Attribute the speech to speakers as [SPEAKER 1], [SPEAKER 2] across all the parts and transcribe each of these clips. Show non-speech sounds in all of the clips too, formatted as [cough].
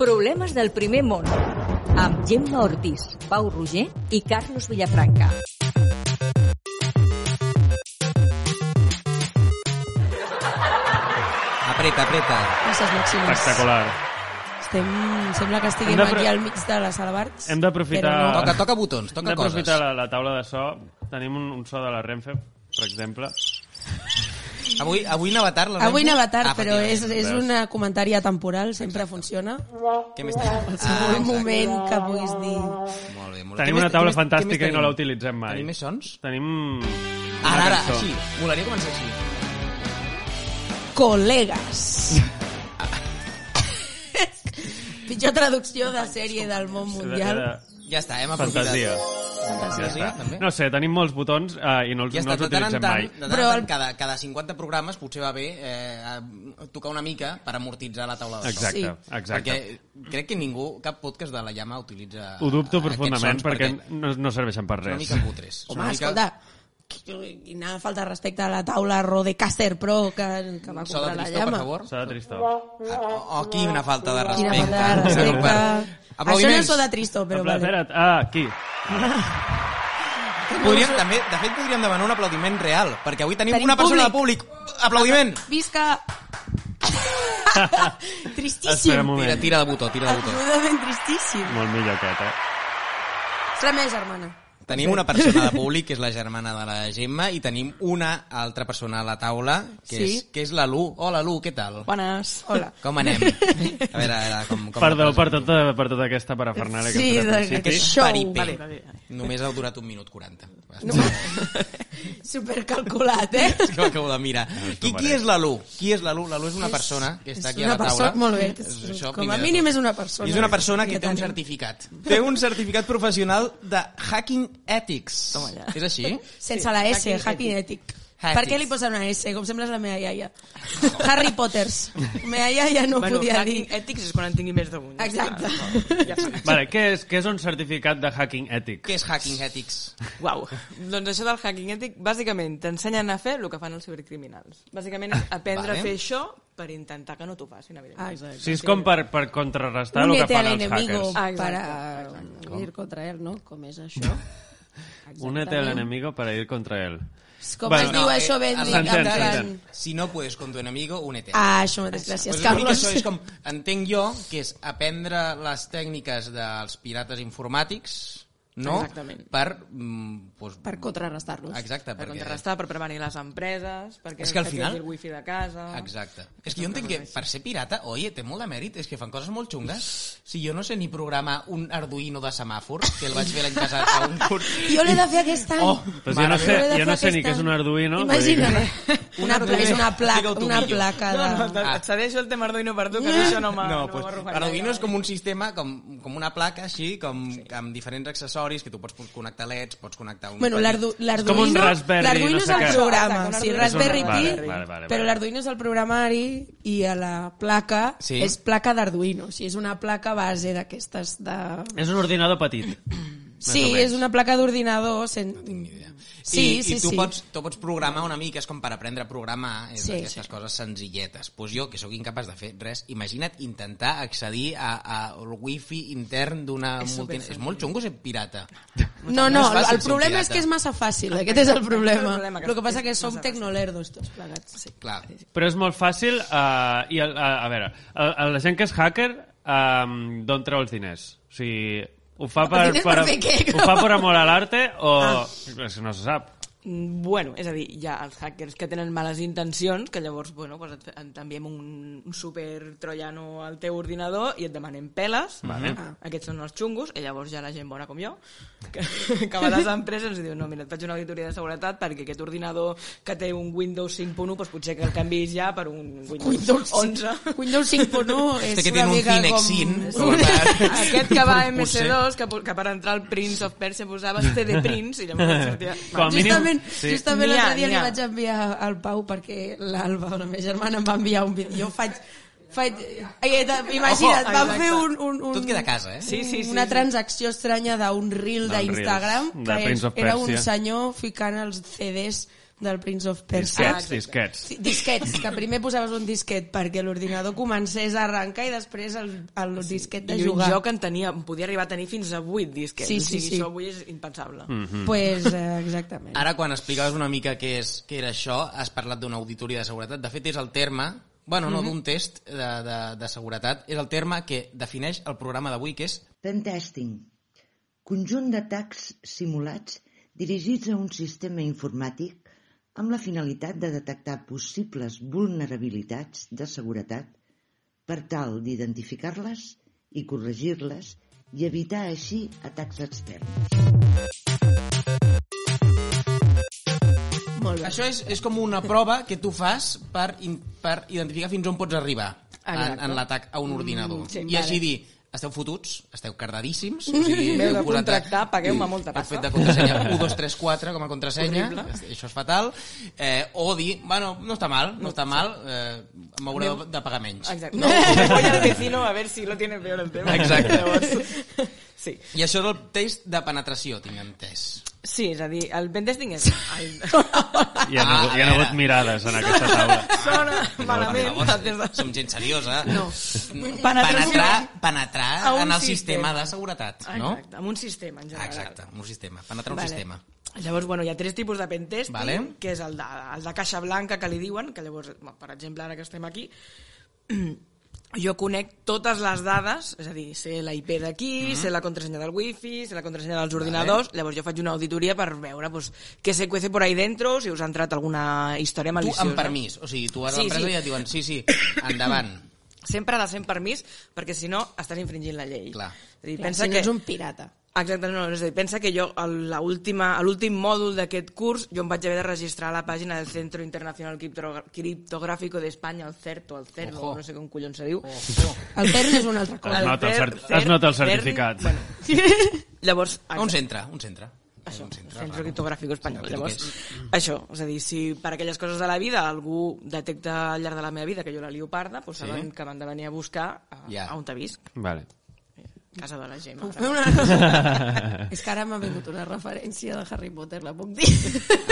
[SPEAKER 1] Problemes del primer món amb Gemma Ortiz, Pau Roger i Carlos Villafranca.
[SPEAKER 2] Apreta, apreta.
[SPEAKER 3] Masses màximes.
[SPEAKER 4] Espectacular.
[SPEAKER 3] Estem, sembla que estiguem
[SPEAKER 4] Hem de pre-
[SPEAKER 3] aquí al mig de la sala Barts.
[SPEAKER 4] Hem d'aprofitar...
[SPEAKER 3] Però no.
[SPEAKER 2] Toca, toca botons,
[SPEAKER 4] Hem
[SPEAKER 2] toca coses.
[SPEAKER 4] d'aprofitar la, la taula de so. Tenim un, un so de la Renfe, per exemple.
[SPEAKER 2] Avui, avui anava tard, la
[SPEAKER 3] Avui
[SPEAKER 2] Renfe?
[SPEAKER 3] anava tard,
[SPEAKER 2] Ah,
[SPEAKER 3] però és,
[SPEAKER 2] efectivament.
[SPEAKER 3] és
[SPEAKER 4] veus?
[SPEAKER 3] un comentari atemporal, sempre funciona.
[SPEAKER 2] Què més
[SPEAKER 3] [laughs]
[SPEAKER 2] tenim? Ah,
[SPEAKER 3] El segon moment que puguis dir...
[SPEAKER 2] Molt bé, molt bé.
[SPEAKER 4] Tenim
[SPEAKER 2] Què
[SPEAKER 4] una
[SPEAKER 2] més- què
[SPEAKER 4] taula
[SPEAKER 2] més- què
[SPEAKER 4] fantàstica
[SPEAKER 2] més
[SPEAKER 4] i no la
[SPEAKER 2] tenim?
[SPEAKER 4] utilitzem mai.
[SPEAKER 2] Tenim més sons?
[SPEAKER 4] Tenim... una
[SPEAKER 2] Ara, ara,
[SPEAKER 4] cançó.
[SPEAKER 2] així. Volaria començar així. [laughs]
[SPEAKER 3] Col·legues. Pitjor traducció de sèrie del món mundial.
[SPEAKER 4] Era
[SPEAKER 2] Ja està, hem aprofitat.
[SPEAKER 4] Fantasia.
[SPEAKER 2] Fantasia, també.
[SPEAKER 4] No sé, tenim molts botons eh, i no els,
[SPEAKER 2] ja està,
[SPEAKER 4] no els
[SPEAKER 2] de tant en tant,
[SPEAKER 4] utilitzem
[SPEAKER 2] doncs,
[SPEAKER 4] mai.
[SPEAKER 2] de tant,
[SPEAKER 3] Però
[SPEAKER 2] en tant
[SPEAKER 3] el-
[SPEAKER 2] cada, cada 50 programes potser va bé eh, a- tocar una mica per amortitzar la taula de so.
[SPEAKER 4] Exacte,
[SPEAKER 3] Sí.
[SPEAKER 4] exacte.
[SPEAKER 2] Perquè crec que ningú, cap podcast de la llama utilitza
[SPEAKER 4] Ho dubto
[SPEAKER 2] eh, aquests
[SPEAKER 4] profundament
[SPEAKER 2] sons
[SPEAKER 4] perquè no, no serveixen per
[SPEAKER 2] són una
[SPEAKER 4] res.
[SPEAKER 2] mica putres. Són
[SPEAKER 3] Home,
[SPEAKER 2] una mica
[SPEAKER 3] escolta, quina falta de respecte a la taula Rode Caster Pro que, que va
[SPEAKER 2] So de
[SPEAKER 3] comprar la
[SPEAKER 2] tristó, per
[SPEAKER 3] llama.
[SPEAKER 2] favor.
[SPEAKER 4] S'ha de tristor.
[SPEAKER 2] Oh, oh, quina falta de
[SPEAKER 3] Quina
[SPEAKER 2] respecte.
[SPEAKER 3] falta de respecte. Això no
[SPEAKER 2] Aplaudiments.
[SPEAKER 3] és so de tristo,
[SPEAKER 4] Però,
[SPEAKER 3] però vale.
[SPEAKER 4] espera't, ah, aquí.
[SPEAKER 2] Podríem, també, de fet, podríem demanar un aplaudiment real, perquè avui tenim,
[SPEAKER 3] Tenim
[SPEAKER 2] una persona de públic. Aplaudiment!
[SPEAKER 4] [laughs]
[SPEAKER 3] Visca!
[SPEAKER 4] Espera un
[SPEAKER 3] tristíssim.
[SPEAKER 2] Tira,
[SPEAKER 4] moment.
[SPEAKER 2] tira de botó, tira de botó.
[SPEAKER 3] Absolutament tristíssim.
[SPEAKER 4] Molt millor aquest, eh?
[SPEAKER 3] És la meva germana.
[SPEAKER 2] Tenim una persona de públic, que és la germana de la Gemma, i tenim una altra persona a la taula, que,
[SPEAKER 3] Sí.
[SPEAKER 2] és, que és la Lu. Hola, Lu, què tal?
[SPEAKER 3] Bones. Hola.
[SPEAKER 2] Com anem? A veure, a veure com, com
[SPEAKER 4] Perdó per tota, per tota aquesta parafernàlia que
[SPEAKER 3] Sí,
[SPEAKER 4] hem fet al
[SPEAKER 3] de-
[SPEAKER 4] principi.
[SPEAKER 3] aquest show.
[SPEAKER 2] Paripé.
[SPEAKER 3] Vale,
[SPEAKER 2] Només ha durat un minut 40.
[SPEAKER 3] No, [laughs] supercalculat, eh?
[SPEAKER 2] [laughs] És que ho acabo de mirar. Qui, qui és la Lu? Qui és la Lu? La Lu és una
[SPEAKER 3] És-
[SPEAKER 2] persona que està aquí
[SPEAKER 3] és una
[SPEAKER 2] a la taula.
[SPEAKER 3] persona, molt bé.
[SPEAKER 2] És això,
[SPEAKER 3] Com
[SPEAKER 2] primer
[SPEAKER 3] a
[SPEAKER 2] de
[SPEAKER 3] mínim
[SPEAKER 2] tot.
[SPEAKER 3] és una persona.
[SPEAKER 2] I és una persona que
[SPEAKER 3] Ja
[SPEAKER 2] té un
[SPEAKER 3] tenim.
[SPEAKER 2] certificat. [laughs] Té un certificat professional de Hacking Ethics.
[SPEAKER 5] Toma ja.
[SPEAKER 2] És així?
[SPEAKER 3] Sense la S,
[SPEAKER 5] Hacking
[SPEAKER 3] Happy Ethic.
[SPEAKER 2] Hacking.
[SPEAKER 3] Per què li posen una S? Com sembles la meva iaia. Harry Potters. Meva iaia no
[SPEAKER 5] bueno,
[SPEAKER 3] podia dir...
[SPEAKER 5] hacking Ethics és quan en tingui més d'un.
[SPEAKER 3] Exacte.
[SPEAKER 5] Ja està.
[SPEAKER 4] Vale, què és, què és un certificat de hacking ètic?
[SPEAKER 2] Què és Hacking Ethics?
[SPEAKER 5] Uau. Doncs això del hacking ètic, bàsicament, t'ensenyen a fer el que fan els cibercriminals. Bàsicament és aprendre
[SPEAKER 2] Vale.
[SPEAKER 5] a fer això per intentar que no t'ho facin,
[SPEAKER 3] Ah,
[SPEAKER 5] evidentment.
[SPEAKER 3] exacte.
[SPEAKER 4] Si és com per, per contrarrestar el que
[SPEAKER 3] Únete al
[SPEAKER 4] fan els
[SPEAKER 3] enemigo
[SPEAKER 4] hackers.
[SPEAKER 5] hackers.
[SPEAKER 3] para ir contra él, ¿no? Com és això?
[SPEAKER 4] Únete al enemigo para ir contra él.
[SPEAKER 3] És Com
[SPEAKER 4] Bueno,
[SPEAKER 3] es diu
[SPEAKER 4] no,
[SPEAKER 3] això,
[SPEAKER 2] eh,
[SPEAKER 3] ben
[SPEAKER 2] en
[SPEAKER 3] dit, en
[SPEAKER 4] s'entén,
[SPEAKER 3] plan...
[SPEAKER 4] s'entén.
[SPEAKER 2] Si no puedes con tu enemigo, únete.
[SPEAKER 3] Ah, això mateix, gràcies,
[SPEAKER 2] Pues una mica
[SPEAKER 3] Carlos.
[SPEAKER 2] això és com, entenc jo, que és aprendre les tècniques dels pirates informàtics, no?
[SPEAKER 5] Exactament.
[SPEAKER 2] Per, mm, doncs,
[SPEAKER 3] Per contrarrestar-los.
[SPEAKER 2] exacte,
[SPEAKER 5] Per
[SPEAKER 2] perquè...
[SPEAKER 5] contrarrestar, per prevenir les empreses, perquè
[SPEAKER 2] És que al
[SPEAKER 5] no et
[SPEAKER 2] final-
[SPEAKER 5] hagi el wifi de casa...
[SPEAKER 2] Exacte. És que jo entenc que per ser pirata, oye, té molt de mèrit, és que fan coses molt xungues. Si jo no sé ni programar un Arduino de semàfor, que el vaig fer l'any passat a un curs...
[SPEAKER 3] [laughs] Jo l'he de fer aquest any.
[SPEAKER 2] Oh,
[SPEAKER 4] Pues jo
[SPEAKER 2] Mare
[SPEAKER 4] no
[SPEAKER 2] meva.
[SPEAKER 4] sé,
[SPEAKER 3] Jo l'he de
[SPEAKER 4] jo
[SPEAKER 3] fer
[SPEAKER 4] no sé ni
[SPEAKER 3] aquest
[SPEAKER 4] què és un
[SPEAKER 3] any.
[SPEAKER 4] Arduino. vull dir que-
[SPEAKER 3] Imagina't.
[SPEAKER 2] Un
[SPEAKER 3] Una, pla
[SPEAKER 2] Arduino.
[SPEAKER 3] és una placa,
[SPEAKER 2] Digue'l tu
[SPEAKER 3] una
[SPEAKER 2] millor.
[SPEAKER 3] placa
[SPEAKER 5] No, no,
[SPEAKER 3] de...
[SPEAKER 5] et- et cedeixo el tema Arduino per tu, que no, això no m'ha
[SPEAKER 2] Ah. No,
[SPEAKER 5] no
[SPEAKER 2] pues,
[SPEAKER 5] m'ha arrugat
[SPEAKER 2] Arduino
[SPEAKER 5] gaire.
[SPEAKER 2] és com un sistema, com, com una placa així, com, sí. amb diferents accessoris, que tu pots connectar leds, pots connectar un...
[SPEAKER 3] Bueno, l'Ardu-
[SPEAKER 4] com un
[SPEAKER 3] l'Arduino
[SPEAKER 4] Raspberry,
[SPEAKER 3] l'Arduino
[SPEAKER 4] no
[SPEAKER 3] és
[SPEAKER 4] sé
[SPEAKER 3] el
[SPEAKER 4] què.
[SPEAKER 3] programa.
[SPEAKER 5] Exacte, un
[SPEAKER 3] Sí,
[SPEAKER 5] Arduino.
[SPEAKER 3] Raspberry
[SPEAKER 4] És
[SPEAKER 3] Pi,
[SPEAKER 4] un- vale, vale, vale.
[SPEAKER 3] però l'Arduino és el programari i a la placa
[SPEAKER 2] Sí.
[SPEAKER 3] és placa d'Arduino. O sigui, és una placa base d'aquestes de...
[SPEAKER 4] És un ordinador petit.
[SPEAKER 3] Sí,
[SPEAKER 4] o menys.
[SPEAKER 3] és una placa d'ordinador. Sen... No tinc
[SPEAKER 2] idea.
[SPEAKER 3] Sí,
[SPEAKER 2] I,
[SPEAKER 3] sí,
[SPEAKER 2] i tu,
[SPEAKER 3] sí.
[SPEAKER 2] Pots, tu pots programar una mica, és com per aprendre a programar, és
[SPEAKER 3] Sí,
[SPEAKER 2] sí, aquestes sí. coses senzilletes. Pues jo, que sóc incapaç de fer res, imagina't intentar accedir a, a el wifi intern d'una multi... És molt xungo ser pirata.
[SPEAKER 3] No, no,
[SPEAKER 2] és fàcil
[SPEAKER 3] el
[SPEAKER 2] ser
[SPEAKER 3] problema és
[SPEAKER 2] pirata.
[SPEAKER 3] que és massa fàcil, aquest és el problema.
[SPEAKER 5] El problema que
[SPEAKER 3] El que passa
[SPEAKER 5] és
[SPEAKER 3] que
[SPEAKER 5] massa
[SPEAKER 3] som
[SPEAKER 5] fàcil.
[SPEAKER 3] tecnolerdos tots plegats. Sí.
[SPEAKER 2] Clar.
[SPEAKER 4] Però és molt fàcil uh, i el, a, a veure, el, el, la gent que és hacker um, d'on treu els diners? O sigui, ho fa per,
[SPEAKER 3] Els diners per fer què,
[SPEAKER 4] ho fa
[SPEAKER 3] cabrón?
[SPEAKER 4] per amor a l'arte o... Ah. És que no se sap.
[SPEAKER 5] Mm, Bueno, és a dir, hi ha els hackers que tenen males intencions, que llavors bueno, pues et, et t'enviem un, un super troiano al teu ordinador i et demanem peles. Vale. Aquests són els xungos, i llavors ja la gent bona com jo, [laughs] que, que va a les empreses i ens diu, no, mira, et faig una auditoria de seguretat perquè aquest ordinador que té un Windows 5.1, doncs potser que el canvis ja per un Windows,
[SPEAKER 3] Windows
[SPEAKER 5] 11.
[SPEAKER 3] [laughs] Windows 5.1 és
[SPEAKER 2] Este que
[SPEAKER 3] una
[SPEAKER 2] tiene un
[SPEAKER 3] mica
[SPEAKER 2] Cinexin,
[SPEAKER 3] com... [laughs]
[SPEAKER 2] com per-
[SPEAKER 5] Aquest que va a
[SPEAKER 2] Potser.
[SPEAKER 5] MC2, que, po- que per entrar al Prince of Persia posava CD Prince i llavors sortia...
[SPEAKER 4] [laughs] Com a mínim-
[SPEAKER 3] Justament,
[SPEAKER 4] sí.
[SPEAKER 3] justament l'altre
[SPEAKER 5] N'hi ha,
[SPEAKER 3] dia
[SPEAKER 5] n'hi
[SPEAKER 3] li
[SPEAKER 5] ha.
[SPEAKER 3] vaig enviar al Pau perquè l'Alba, la meva germana, em va enviar un vídeo. Jo faig... faig eh, de- imagina't,
[SPEAKER 5] Ojo,
[SPEAKER 3] vam
[SPEAKER 5] exacte.
[SPEAKER 3] fer un, un, un,
[SPEAKER 2] Tot queda a casa, eh?
[SPEAKER 5] Sí, sí, sí.
[SPEAKER 3] una
[SPEAKER 5] sí.
[SPEAKER 3] transacció estranya d'un reel
[SPEAKER 4] Del Reels,
[SPEAKER 3] d'Instagram
[SPEAKER 4] de
[SPEAKER 3] que és,
[SPEAKER 4] Prince of
[SPEAKER 3] era un
[SPEAKER 4] Persia.
[SPEAKER 3] senyor ficant els CDs del Prince of Persia.
[SPEAKER 4] Disquets, disquets.
[SPEAKER 3] Ah, Sí, disquets, que primer posaves un disquet perquè l'ordinador comencés a arrencar i després el, el disquet de
[SPEAKER 5] I un
[SPEAKER 3] jugar.
[SPEAKER 5] joc en tenia, en podia arribar a tenir fins a 8 disquets.
[SPEAKER 3] Sí,
[SPEAKER 5] o
[SPEAKER 3] sí,
[SPEAKER 5] sigui,
[SPEAKER 3] sí.
[SPEAKER 5] Això avui és impensable. Mm.
[SPEAKER 3] Pues, eh, exactament.
[SPEAKER 2] Ara, quan explicaves una mica què, és, què era això, has parlat d'una auditoria de seguretat. De fet, és el terme, bueno, no d'un test de, de, de seguretat, és el terme que defineix el programa d'avui, que és
[SPEAKER 6] Pentesting. Conjunt d'atacs simulats dirigits a un sistema informàtic amb la finalitat de detectar possibles vulnerabilitats de seguretat per tal d'identificar-les i corregir-les i evitar així atacs externs.
[SPEAKER 3] Molt bé.
[SPEAKER 2] Això és, és com una prova que tu fas per, in, per identificar fins on pots arribar en,
[SPEAKER 5] Exacte. Mm,
[SPEAKER 2] en l'atac a un ordinador.
[SPEAKER 5] sí,
[SPEAKER 2] I així
[SPEAKER 5] vale.
[SPEAKER 2] dir, esteu fotuts, esteu cardadíssims, o sigui,
[SPEAKER 5] M'heu
[SPEAKER 2] heu
[SPEAKER 5] de
[SPEAKER 2] posat
[SPEAKER 5] contractar, pagueu-me molta
[SPEAKER 2] Heu fet
[SPEAKER 5] pasta.
[SPEAKER 2] de contrasenya 1, 2,
[SPEAKER 5] [laughs]
[SPEAKER 2] 3, 4 com a contrasenya, això és fatal, eh, o dir, bueno, no està mal, no està mal, eh, m'hauré de, de pagar menys.
[SPEAKER 5] Exacte. [laughs] No, voy al vecino a ver si lo tiene peor el tema.
[SPEAKER 2] Exacte.
[SPEAKER 5] Llavors, [laughs] sí.
[SPEAKER 2] I això és el test de penetració, tinc entès.
[SPEAKER 5] Sí, és a dir, el pentesting [laughs] és... El...
[SPEAKER 4] Hi ha, hagut, hi ha
[SPEAKER 2] Ah,
[SPEAKER 4] hagut
[SPEAKER 2] era.
[SPEAKER 4] mirades en aquesta
[SPEAKER 3] [laughs]
[SPEAKER 4] taula.
[SPEAKER 5] Sona malament.
[SPEAKER 2] Per favor,
[SPEAKER 5] des de-
[SPEAKER 2] Som gent seriosa. No.
[SPEAKER 5] Penetració.
[SPEAKER 2] Penetrar, penetrar
[SPEAKER 5] A un
[SPEAKER 2] en el
[SPEAKER 5] sistema.
[SPEAKER 2] sistema de seguretat, no?
[SPEAKER 5] Exacte, amb un sistema en
[SPEAKER 2] Ah,
[SPEAKER 5] general.
[SPEAKER 2] Exacte, un sistema. Penetrar un
[SPEAKER 5] Vale.
[SPEAKER 2] sistema.
[SPEAKER 5] Llavors, bueno, hi ha tres tipus de pentesting,
[SPEAKER 2] Vale.
[SPEAKER 5] que és el de, el de caixa blanca que li diuen, que llavors, bueno, per exemple, ara que estem aquí, [clears throat] jo conec totes les dades, és a dir, sé la IP
[SPEAKER 2] Mhm.
[SPEAKER 5] d'aquí, sé la contrasenya del wifi, sé la contrasenya dels ordinadors, llavors jo faig una auditoria per veure pues, què se cuece por ahí dentro, si us ha entrat alguna història
[SPEAKER 2] Tu,
[SPEAKER 5] maliciosa.
[SPEAKER 2] amb permís. O sigui, tu vas a
[SPEAKER 5] eh? Sí,
[SPEAKER 2] l'empresa
[SPEAKER 5] sí.
[SPEAKER 2] i et diuen sí, sí, endavant.
[SPEAKER 5] Sempre ha de ser amb permís, perquè si no estàs infringint la llei.
[SPEAKER 2] Clar.
[SPEAKER 5] És a dir,
[SPEAKER 3] Clar,
[SPEAKER 5] pensa
[SPEAKER 3] si no
[SPEAKER 5] que...
[SPEAKER 3] ets un pirata.
[SPEAKER 5] Exacte, no, és a dir, pensa que jo el- la última- a l'últim mòdul d'aquest curs jo em vaig haver de registrar a la pàgina del Centro Internacional Criptogra- Criptográfico d'Espanya, el CERTO, el CERDO,
[SPEAKER 2] Ojo.
[SPEAKER 5] no sé com collons se diu.
[SPEAKER 3] El Pern és una
[SPEAKER 5] [laughs]
[SPEAKER 3] altra cosa.
[SPEAKER 4] Es nota el
[SPEAKER 5] CER-
[SPEAKER 4] cer- es nota el
[SPEAKER 5] CERN,
[SPEAKER 4] certificat.
[SPEAKER 5] Bueno,
[SPEAKER 4] [laughs]
[SPEAKER 5] llavors,
[SPEAKER 2] Un centre, un centre.
[SPEAKER 5] això,
[SPEAKER 2] un centre,
[SPEAKER 5] Centro
[SPEAKER 2] raro.
[SPEAKER 5] Criptogràfic Espanyol.
[SPEAKER 2] Centre
[SPEAKER 5] Llavors, això, és a dir, si per aquelles coses de la vida algú detecta al llarg de la meva vida que jo la lio parda, doncs
[SPEAKER 2] Sí.
[SPEAKER 5] saben que m'han de venir a buscar a,
[SPEAKER 2] Ja.
[SPEAKER 5] a on t'avisc,
[SPEAKER 4] Vale.
[SPEAKER 5] casa de la Gemma.
[SPEAKER 3] Fer
[SPEAKER 2] [laughs]
[SPEAKER 3] Una... és que ara m'ha vingut una referència de Harry Potter, la puc dir?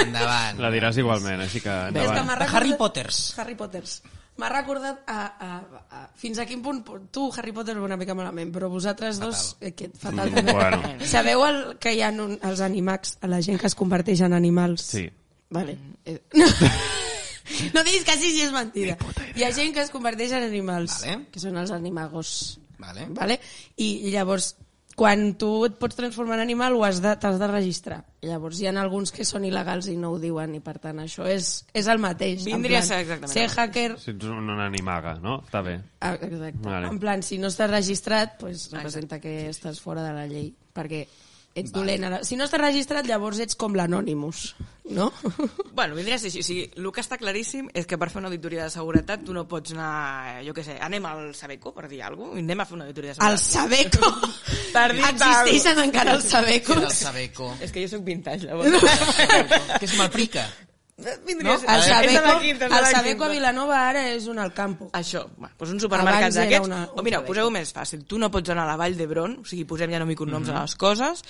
[SPEAKER 2] Endavant.
[SPEAKER 4] La diràs igualment, així que
[SPEAKER 3] És que
[SPEAKER 4] endavant.
[SPEAKER 3] m'ha
[SPEAKER 2] De
[SPEAKER 3] recordat-
[SPEAKER 2] Harry Potters.
[SPEAKER 3] Harry Potters. M'ha recordat a, a, a, fins a quin punt... Tu, Harry Potter, una mica malament, però vosaltres dos... eh, Que, fatal
[SPEAKER 4] Mm,
[SPEAKER 3] també.
[SPEAKER 4] bueno.
[SPEAKER 3] [laughs] Sabeu el, que hi ha un, els animacs, la gent que es converteix en animals?
[SPEAKER 4] Sí.
[SPEAKER 3] Vale.
[SPEAKER 2] Mm.
[SPEAKER 3] Eh, No, [laughs] no diguis que sí, sí, és mentida. Hi ha gent que es converteix en animals,
[SPEAKER 2] Vale.
[SPEAKER 3] que són els animagos.
[SPEAKER 2] Vale.
[SPEAKER 3] Vale? I llavors, quan tu et pots transformar en animal, ho has de- t'has de, de registrar. Llavors hi ha alguns que són il·legals i no ho diuen, i per tant això és, és el mateix. En
[SPEAKER 5] Vindria a
[SPEAKER 3] plan,
[SPEAKER 5] ser exactament
[SPEAKER 3] Ser
[SPEAKER 5] el mateix.
[SPEAKER 3] hacker...
[SPEAKER 4] Si ets un, un animaga, no? Està bé.
[SPEAKER 3] ah, Exacte.
[SPEAKER 4] Vale.
[SPEAKER 3] Vale. En plan, si no estàs registrat, pues, representa que estàs fora de la llei, perquè ets dolent. a la- Si no estàs registrat, llavors ets com l'Anonymous, no?
[SPEAKER 5] Bueno, vindria a ser així. O sigui, el que està claríssim és que per fer una auditoria de seguretat tu no pots anar, jo què sé, anem al Sabeco, per dir alguna cosa, i anem a fer una auditoria de
[SPEAKER 3] El
[SPEAKER 5] seguretat.
[SPEAKER 3] Sabeco!
[SPEAKER 5] Per dir tal.
[SPEAKER 3] Existeixen encara els
[SPEAKER 2] El
[SPEAKER 3] Sabecos?
[SPEAKER 2] Sabeco.
[SPEAKER 5] [laughs] És que jo sóc vintage, llavors.
[SPEAKER 2] Que és malprica.
[SPEAKER 5] vindria
[SPEAKER 2] No,
[SPEAKER 3] El
[SPEAKER 5] a ser... és de
[SPEAKER 3] Sabeco,
[SPEAKER 5] l'equip, és de
[SPEAKER 3] el
[SPEAKER 5] l'equip.
[SPEAKER 3] Sabeco a Vilanova ara és un Alcampo.
[SPEAKER 5] Això, bueno, doncs un
[SPEAKER 3] Abans
[SPEAKER 5] supermercat
[SPEAKER 3] era
[SPEAKER 5] d'aquests.
[SPEAKER 3] una-
[SPEAKER 5] O mira,
[SPEAKER 3] un
[SPEAKER 5] poseu més fàcil. Tu no pots anar a la Vall d'Hebron, o sigui, posem ja no micronoms mm
[SPEAKER 4] Mhm.
[SPEAKER 5] -hmm. a les coses,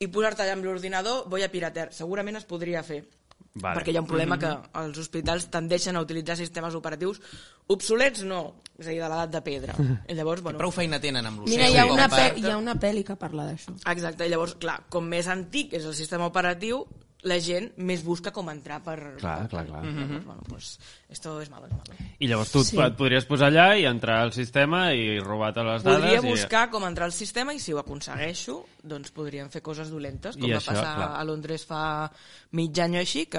[SPEAKER 5] i posar-te allà amb l'ordinador, voy a pirater. Segurament es podria fer.
[SPEAKER 4] Vale. Mhm.
[SPEAKER 5] Perquè hi ha un problema que els hospitals tendeixen a utilitzar sistemes operatius obsolets, no, és a dir, de l'edat de pedra.
[SPEAKER 4] Mhm.
[SPEAKER 5] I llavors, bueno,
[SPEAKER 2] Prou feina tenen amb l'ocell.
[SPEAKER 3] Mira, hi ha,
[SPEAKER 2] com
[SPEAKER 3] una
[SPEAKER 2] per-
[SPEAKER 3] pe- hi ha una pel·li que parla d'això.
[SPEAKER 5] Exacte, i llavors, clar, com més antic és el sistema operatiu, la gent més busca com entrar per...
[SPEAKER 4] Clar, Mhm. clar, clar.
[SPEAKER 5] Mm -hmm. Bueno, pues, esto es malo, es malo.
[SPEAKER 4] I llavors tu sí. et podries posar allà i entrar al sistema i robar-te les dades.
[SPEAKER 5] Podria
[SPEAKER 4] i...
[SPEAKER 5] buscar com entrar al sistema i si ho aconsegueixo, doncs podríem fer coses dolentes, com
[SPEAKER 4] I
[SPEAKER 5] va
[SPEAKER 4] això,
[SPEAKER 5] passar
[SPEAKER 4] clar.
[SPEAKER 5] a Londres fa mig any o així, que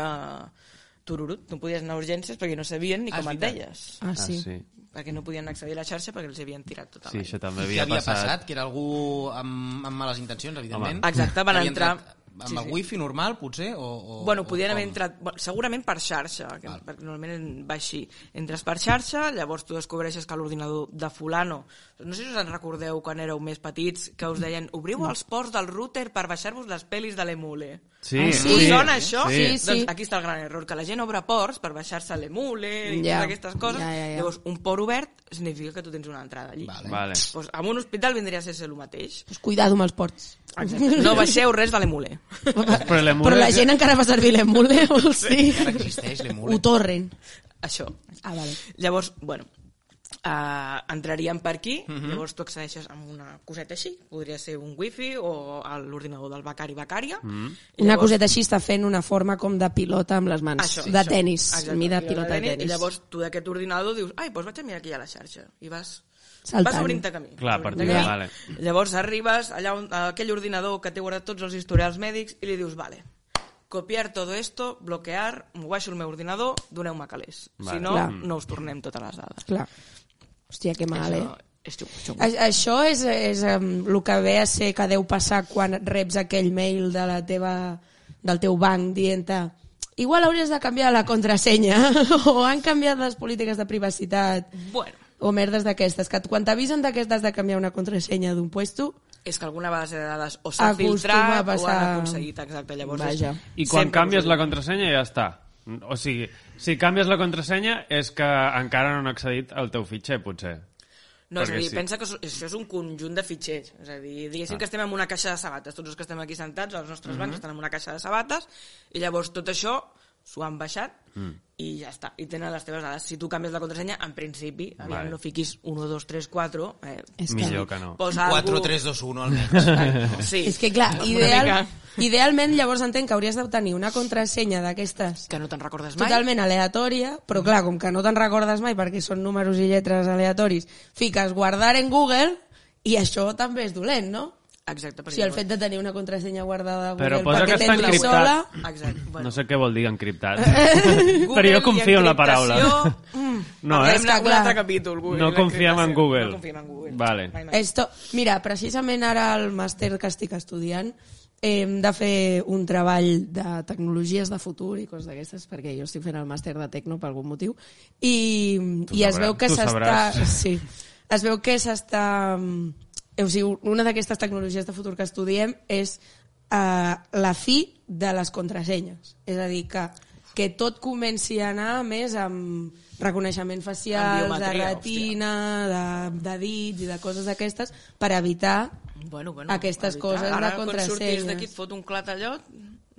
[SPEAKER 5] tururut, no podies anar a urgències perquè no sabien ni
[SPEAKER 2] Ah,
[SPEAKER 5] com
[SPEAKER 2] és
[SPEAKER 5] et
[SPEAKER 2] veritat.
[SPEAKER 5] deies,
[SPEAKER 3] Ah,
[SPEAKER 4] Ah, sí.
[SPEAKER 3] sí.
[SPEAKER 4] sí.
[SPEAKER 5] perquè no podien accedir a la xarxa perquè els havien tirat
[SPEAKER 4] Sí,
[SPEAKER 5] totalment.
[SPEAKER 4] això també
[SPEAKER 2] Què
[SPEAKER 4] havia,
[SPEAKER 2] havia passat? Que era algú amb, amb males intencions, evidentment.
[SPEAKER 5] Exacte, van
[SPEAKER 2] Havia
[SPEAKER 5] entrar-
[SPEAKER 2] entrat Amb
[SPEAKER 5] Sí,
[SPEAKER 2] el
[SPEAKER 5] sí.
[SPEAKER 2] wifi normal, potser? O, o,
[SPEAKER 5] Bueno,
[SPEAKER 2] o
[SPEAKER 5] podien haver
[SPEAKER 2] com?
[SPEAKER 5] entrat, bueno, segurament per xarxa, que, perquè normalment va així. Entres per xarxa, llavors tu descobreixes que l'ordinador de fulano... No sé si us en recordeu quan éreu més petits, que us deien obriu els ports del router per baixar-vos les pel·lis de l'emule.
[SPEAKER 4] Sí,
[SPEAKER 3] Ah,
[SPEAKER 5] Us
[SPEAKER 3] Sí.
[SPEAKER 5] sona això?
[SPEAKER 4] Sí.
[SPEAKER 3] sí.
[SPEAKER 5] Doncs aquí està el gran error, que la gent obre ports per baixar-se l'emule i
[SPEAKER 3] Ja.
[SPEAKER 5] totes aquestes coses.
[SPEAKER 3] Ja, ja, ja.
[SPEAKER 5] Llavors, un port obert significa que tu tens una entrada allí.
[SPEAKER 2] Vale.
[SPEAKER 4] Vale.
[SPEAKER 5] Pues, en un hospital vindria a ser el mateix.
[SPEAKER 3] Pues cuidado amb els ports. [laughs]
[SPEAKER 5] No baixeu res de l'emule.
[SPEAKER 4] Però l'emule...
[SPEAKER 3] Però la gent encara fa servir l'emule, o sí?
[SPEAKER 2] Encara existeix l'emule.
[SPEAKER 3] Ho torren.
[SPEAKER 5] [laughs] Això.
[SPEAKER 3] Ah, vale.
[SPEAKER 5] Llavors, bueno, uh, entraríem per aquí, uh -huh. llavors tu accedeixes amb una coseta així, podria ser un wifi o a l'ordinador del becari becària. Uh -huh.
[SPEAKER 3] Una coseta així està fent una forma com de pilota amb les mans.
[SPEAKER 5] Això,
[SPEAKER 3] de
[SPEAKER 5] això.
[SPEAKER 3] tennis.
[SPEAKER 5] Exacte,
[SPEAKER 3] mida
[SPEAKER 5] pilota
[SPEAKER 3] pilota de
[SPEAKER 5] tenis,
[SPEAKER 3] tennis.
[SPEAKER 5] I llavors tu d'aquest ordinador dius, ai, doncs vaig a mirar aquí a la xarxa. I vas...
[SPEAKER 3] Saltant.
[SPEAKER 5] Vas obrint-te camí.
[SPEAKER 4] Clar, a partir
[SPEAKER 5] Obrint-te
[SPEAKER 4] de-
[SPEAKER 5] camí.
[SPEAKER 4] vale.
[SPEAKER 5] Llavors arribes allà on, a aquell ordinador que té guardat tots els historials mèdics i li dius, vale, copiar todo esto, bloquear, m'ho baixo el meu ordinador, doneu-me calés. Vale.
[SPEAKER 4] Vale.
[SPEAKER 5] Si no,
[SPEAKER 3] Clar.
[SPEAKER 5] no us tornem totes les dades.
[SPEAKER 3] Clar. Hòstia, que mal, eh?
[SPEAKER 5] Això és xungo, xungo.
[SPEAKER 3] A- Això és, és um, el que ve a ser que deu passar quan reps aquell mail de la teva, del teu banc dient-te igual hauries de canviar la contrasenya [laughs] o han canviat les polítiques de privacitat
[SPEAKER 5] Bueno,
[SPEAKER 3] o merdes d'aquestes, que quan t'avisen d'aquestes de canviar una contrasenya d'un puesto,
[SPEAKER 5] és que alguna base de dades o s'ha
[SPEAKER 3] Acostuma a
[SPEAKER 5] filtrat o
[SPEAKER 3] passar-
[SPEAKER 5] han aconseguit, exacte, llavors...
[SPEAKER 3] Vaja.
[SPEAKER 4] I
[SPEAKER 5] És,
[SPEAKER 4] quan
[SPEAKER 5] sempre
[SPEAKER 4] canvies
[SPEAKER 5] us ho
[SPEAKER 4] la
[SPEAKER 5] dic.
[SPEAKER 4] contrasenya ja està. O sigui, si canvies la contrasenya és que encara no han accedit al teu fitxer, potser.
[SPEAKER 5] No, és a
[SPEAKER 4] Perquè
[SPEAKER 5] dir,
[SPEAKER 4] sí. Ah.
[SPEAKER 5] sí. pensa que so- això és un conjunt de fitxers. És a dir, diguéssim que estem en una caixa de sabates. Tots els que estem aquí sentats, els nostres
[SPEAKER 4] Mhm.
[SPEAKER 5] bancs estan en una caixa de sabates, i llavors tot això s'ho han baixat
[SPEAKER 4] Mm.
[SPEAKER 5] i ja està. I tenen les teves dades. Si tu canvies la contrasenya, en principi, aviam,
[SPEAKER 4] Vale.
[SPEAKER 5] no fiquis 1, 2, 3, 4... Eh,
[SPEAKER 3] és que...
[SPEAKER 4] Millor que no.
[SPEAKER 5] posa
[SPEAKER 2] 4,
[SPEAKER 5] algú-
[SPEAKER 2] 3, 2, 1
[SPEAKER 5] [laughs]
[SPEAKER 2] almenys.
[SPEAKER 5] Sí.
[SPEAKER 3] És que, clar,
[SPEAKER 5] Una
[SPEAKER 3] ideal,
[SPEAKER 5] mica
[SPEAKER 3] idealment llavors entenc que hauries de tenir una contrasenya d'aquestes
[SPEAKER 5] Que no te'n recordes mai.
[SPEAKER 3] totalment aleatòria, però clar, com que no te'n recordes mai perquè són números i lletres aleatoris, fiques guardar en Google i això també és dolent, no? O
[SPEAKER 5] Exacte. perquè
[SPEAKER 3] sigui, el
[SPEAKER 5] llavors-
[SPEAKER 3] fet de tenir una contrasenya guardada a Google
[SPEAKER 4] Però posa que està
[SPEAKER 3] tens-la
[SPEAKER 4] encriptat.
[SPEAKER 5] Exacte. Bueno.
[SPEAKER 4] No sé què vol dir
[SPEAKER 3] [laughs]
[SPEAKER 4] encriptat.
[SPEAKER 5] Google
[SPEAKER 4] Però jo
[SPEAKER 5] i
[SPEAKER 4] confio en la paraula.
[SPEAKER 5] encriptació, mm,
[SPEAKER 4] No, eh?
[SPEAKER 5] parlem d'un
[SPEAKER 3] Clar.
[SPEAKER 5] altre capítol, Google,
[SPEAKER 4] No
[SPEAKER 5] i
[SPEAKER 4] confiem
[SPEAKER 5] l'encriptació.
[SPEAKER 4] en Google.
[SPEAKER 5] No confiem en Google.
[SPEAKER 4] Vale.
[SPEAKER 5] Mai, mai.
[SPEAKER 3] Esto, mira, precisament ara al màster que estic estudiant eh, hem de fer un treball de tecnologies de futur i coses d'aquestes, perquè jo estic fent el màster de Tecno per algun motiu, i, i es
[SPEAKER 4] sabràs,
[SPEAKER 3] veu que
[SPEAKER 4] tu
[SPEAKER 3] s'està...
[SPEAKER 4] sabràs.
[SPEAKER 3] Sí, es veu que s'està... mm, eh, O sigui, una d'aquestes tecnologies de futur que estudiem és eh, la fi de les contrasenyes. És a dir, que, que tot comenci a anar més amb reconeixement facial,
[SPEAKER 5] Amb
[SPEAKER 3] de
[SPEAKER 5] biometria, hòstia.
[SPEAKER 3] retina, de, de dits i de coses d'aquestes per
[SPEAKER 5] [laughs]
[SPEAKER 3] evitar...
[SPEAKER 5] Bueno, bueno,
[SPEAKER 3] Aquestes
[SPEAKER 5] evitar.
[SPEAKER 3] coses de
[SPEAKER 5] Ara,
[SPEAKER 3] contrasenyes.
[SPEAKER 5] quan surtis d'aquí et fot un clatallot,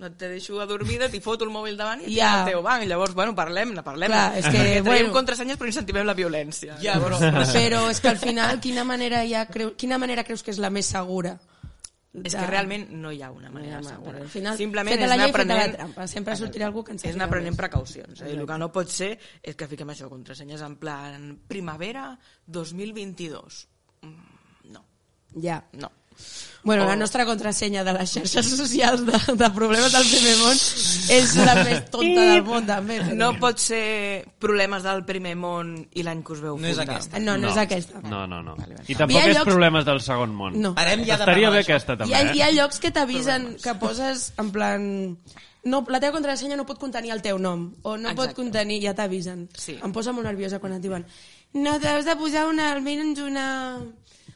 [SPEAKER 5] no te deixo adormida, t'hi foto el mòbil davant i et
[SPEAKER 3] Ja.
[SPEAKER 5] yeah. el teu banc. Llavors, bueno, parlem-ne, parlem-ne.
[SPEAKER 3] Clar, és que,
[SPEAKER 5] Perquè traiem
[SPEAKER 3] bueno.
[SPEAKER 5] contrasenyes però incentivem la violència.
[SPEAKER 2] Ja, però...
[SPEAKER 3] Però és que al final, quina manera, ja creu, quina manera creus que és la més segura?
[SPEAKER 5] És que realment no hi ha una manera
[SPEAKER 3] Home,
[SPEAKER 5] segura.
[SPEAKER 3] però al final,
[SPEAKER 5] Simplement
[SPEAKER 3] feta
[SPEAKER 5] és
[SPEAKER 3] la
[SPEAKER 5] anar
[SPEAKER 3] llei, feta la
[SPEAKER 5] aprenent...
[SPEAKER 3] trampa. Sempre sortirà algú que ens
[SPEAKER 5] És
[SPEAKER 3] sàpiga
[SPEAKER 5] anar prenent
[SPEAKER 3] més.
[SPEAKER 5] precaucions. Eh? I El que no pot ser és que fiquem això, contrasenyes en plan primavera 2022. Mm, No,
[SPEAKER 3] Ja.
[SPEAKER 5] no.
[SPEAKER 3] Bueno,
[SPEAKER 5] O-
[SPEAKER 3] la nostra contrasenya de les xarxes socials de, de problemes del primer món és la més tonta del món, també. però-
[SPEAKER 5] [laughs] No pot ser problemes del primer món i l'any que us veu
[SPEAKER 2] No és
[SPEAKER 5] fundar.
[SPEAKER 2] aquesta.
[SPEAKER 3] no, no, és aquesta.
[SPEAKER 4] No, no, no.
[SPEAKER 5] Vale, vale.
[SPEAKER 4] I
[SPEAKER 3] Hi ha
[SPEAKER 4] tampoc és
[SPEAKER 3] llocs-
[SPEAKER 4] problemes del segon món.
[SPEAKER 3] No.
[SPEAKER 2] Parem ja de
[SPEAKER 4] Estaria
[SPEAKER 2] parlar
[SPEAKER 4] bé
[SPEAKER 2] d'això.
[SPEAKER 4] aquesta,
[SPEAKER 3] Hi ha,
[SPEAKER 4] també,
[SPEAKER 3] hi ha
[SPEAKER 4] eh?
[SPEAKER 3] llocs que t'avisen que poses en plan... No, la teva contrasenya no pot contenir el teu nom o no pot
[SPEAKER 5] Exacte.
[SPEAKER 3] contenir... Ja t'avisen.
[SPEAKER 5] Sí.
[SPEAKER 3] Em posa molt nerviosa quan et diuen no, t'has de posar una, almenys una